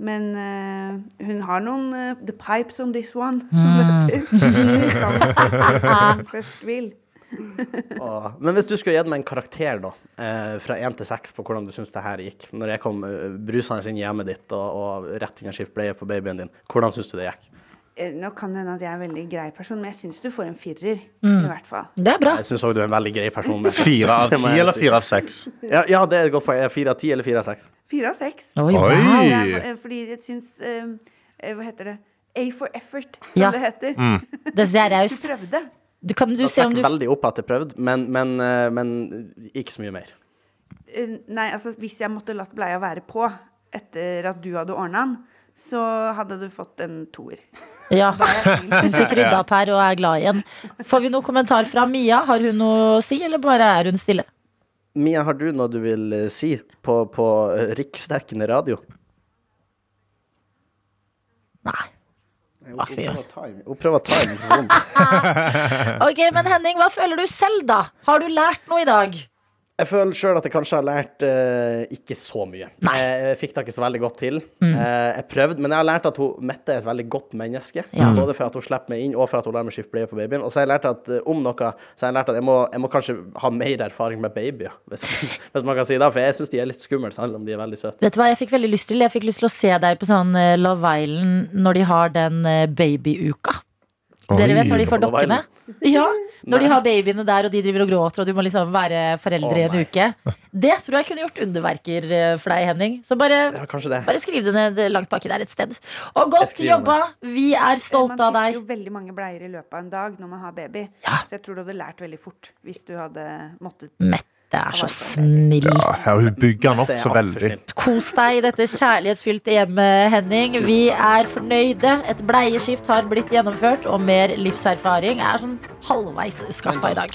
Speaker 8: Men eh, hun har noen eh, The pipes on this one, som
Speaker 2: Mm.
Speaker 8: det heter. Som Først vil.
Speaker 7: Åh. Men hvis du skulle gitt meg en karakter, da, eh, fra én til seks, på hvordan du syns det her gikk, når jeg kom eh, brusende inn i hjemmet ditt og, og rett inn og skiftet bleie på babyen din, hvordan syns du det gikk?
Speaker 8: Eh, Nå kan det hende at jeg er en veldig grei person, men jeg syns du får en firer.
Speaker 2: Mm.
Speaker 8: I hvert fall.
Speaker 2: Det er bra.
Speaker 7: Jeg syns òg du er en veldig grei person. Mette.
Speaker 3: Fire av
Speaker 7: Det må
Speaker 3: ti
Speaker 7: jeg
Speaker 3: eller
Speaker 7: si.
Speaker 3: fire av seks?
Speaker 7: Ja, ja, det er et godt poeng. Er det Fire av ti eller fire av seks?
Speaker 8: Fire av seks.
Speaker 2: Oi,
Speaker 3: Oi.
Speaker 2: wow.
Speaker 8: Det er, eh, fordi jeg syns eh, eh, Hva heter det? A for effort, som
Speaker 2: Ja. Mm.
Speaker 8: det heter.
Speaker 2: Det synes jeg er
Speaker 8: Du
Speaker 2: raust.
Speaker 8: prøvde.
Speaker 2: Du- Kan du
Speaker 7: Jeg
Speaker 2: se om
Speaker 7: fikk
Speaker 2: du
Speaker 7: veldig opp at jeg prøvde, men, men, eh, men ikke så mye mer.
Speaker 8: Eh, Nei, altså hvis jeg måtte latt bleia være på etter at du hadde ordna den, så hadde du fått en toer.
Speaker 2: Ja. Hun fikk rydda opp her og er glad igjen. Får vi noen kommentar fra Mia? Har hun noe å si, eller bare er hun stille?
Speaker 7: Mia, har du noe du vil eh, si på, på eh, riksdekkende radio?
Speaker 2: Nei. Hva skal vi gjøre?
Speaker 7: Hun prøver å ta i mikrofonen.
Speaker 2: Ok, men Henning, hva føler du selv, da? Har du lært noe i dag?
Speaker 7: Jeg føler sjøl at jeg kanskje har lært eh, ikke så mye. Eh,
Speaker 2: Nei. Mm.
Speaker 7: Jeg, jeg fikk det ikke så veldig godt til. Eh, jeg prøvde, men jeg har lært at hun, Mette er et veldig godt menneske.
Speaker 2: Ja. Mm.
Speaker 7: Både for at hun slipper meg inn, og for at hun lar meg skifte bleie på babyen. Og så har jeg lært at eh, om noe, så har jeg lært at jeg må, jeg må kanskje ha mer erfaring med babyer, hvis, hvis man kan si det. For jeg syns de er litt skumle, selv om de er veldig søte.
Speaker 2: Vet du hva jeg fikk veldig lyst til? Jeg fikk lyst til å se deg på sånn eh, Love Island når de har den eh, babyuka. Dere vet når de får
Speaker 7: Love
Speaker 2: dokkene?
Speaker 7: Island.
Speaker 2: Ja, Når de har babyene der, og de driver og gråter, og du må liksom være foreldre i
Speaker 7: Å,
Speaker 2: en uke. Det tror jeg kunne gjort underverker eh, for deg, Henning. Så bare,
Speaker 7: Ja, kanskje det.
Speaker 2: bare skriv det ned eh, langt baki der et sted. Og godt
Speaker 7: skriver
Speaker 2: jobba! Vi er stolt
Speaker 8: man
Speaker 2: av
Speaker 8: skifter
Speaker 2: deg.
Speaker 8: jo veldig mange bleier i løpet av en dag når man har baby. Så jeg tror du hadde lært veldig fort hvis du hadde måttet
Speaker 2: Mette er så snill.
Speaker 3: Ja, hun bygger den opp
Speaker 7: Det er
Speaker 3: så
Speaker 7: altfor
Speaker 3: veldig.
Speaker 7: snilt.
Speaker 2: Kos deg i dette kjærlighetsfylte hjemmet, Henning. Vi er fornøyde. Et bleieskift har blitt gjennomført, og mer livserfaring er sånn halvveis skaffa i dag.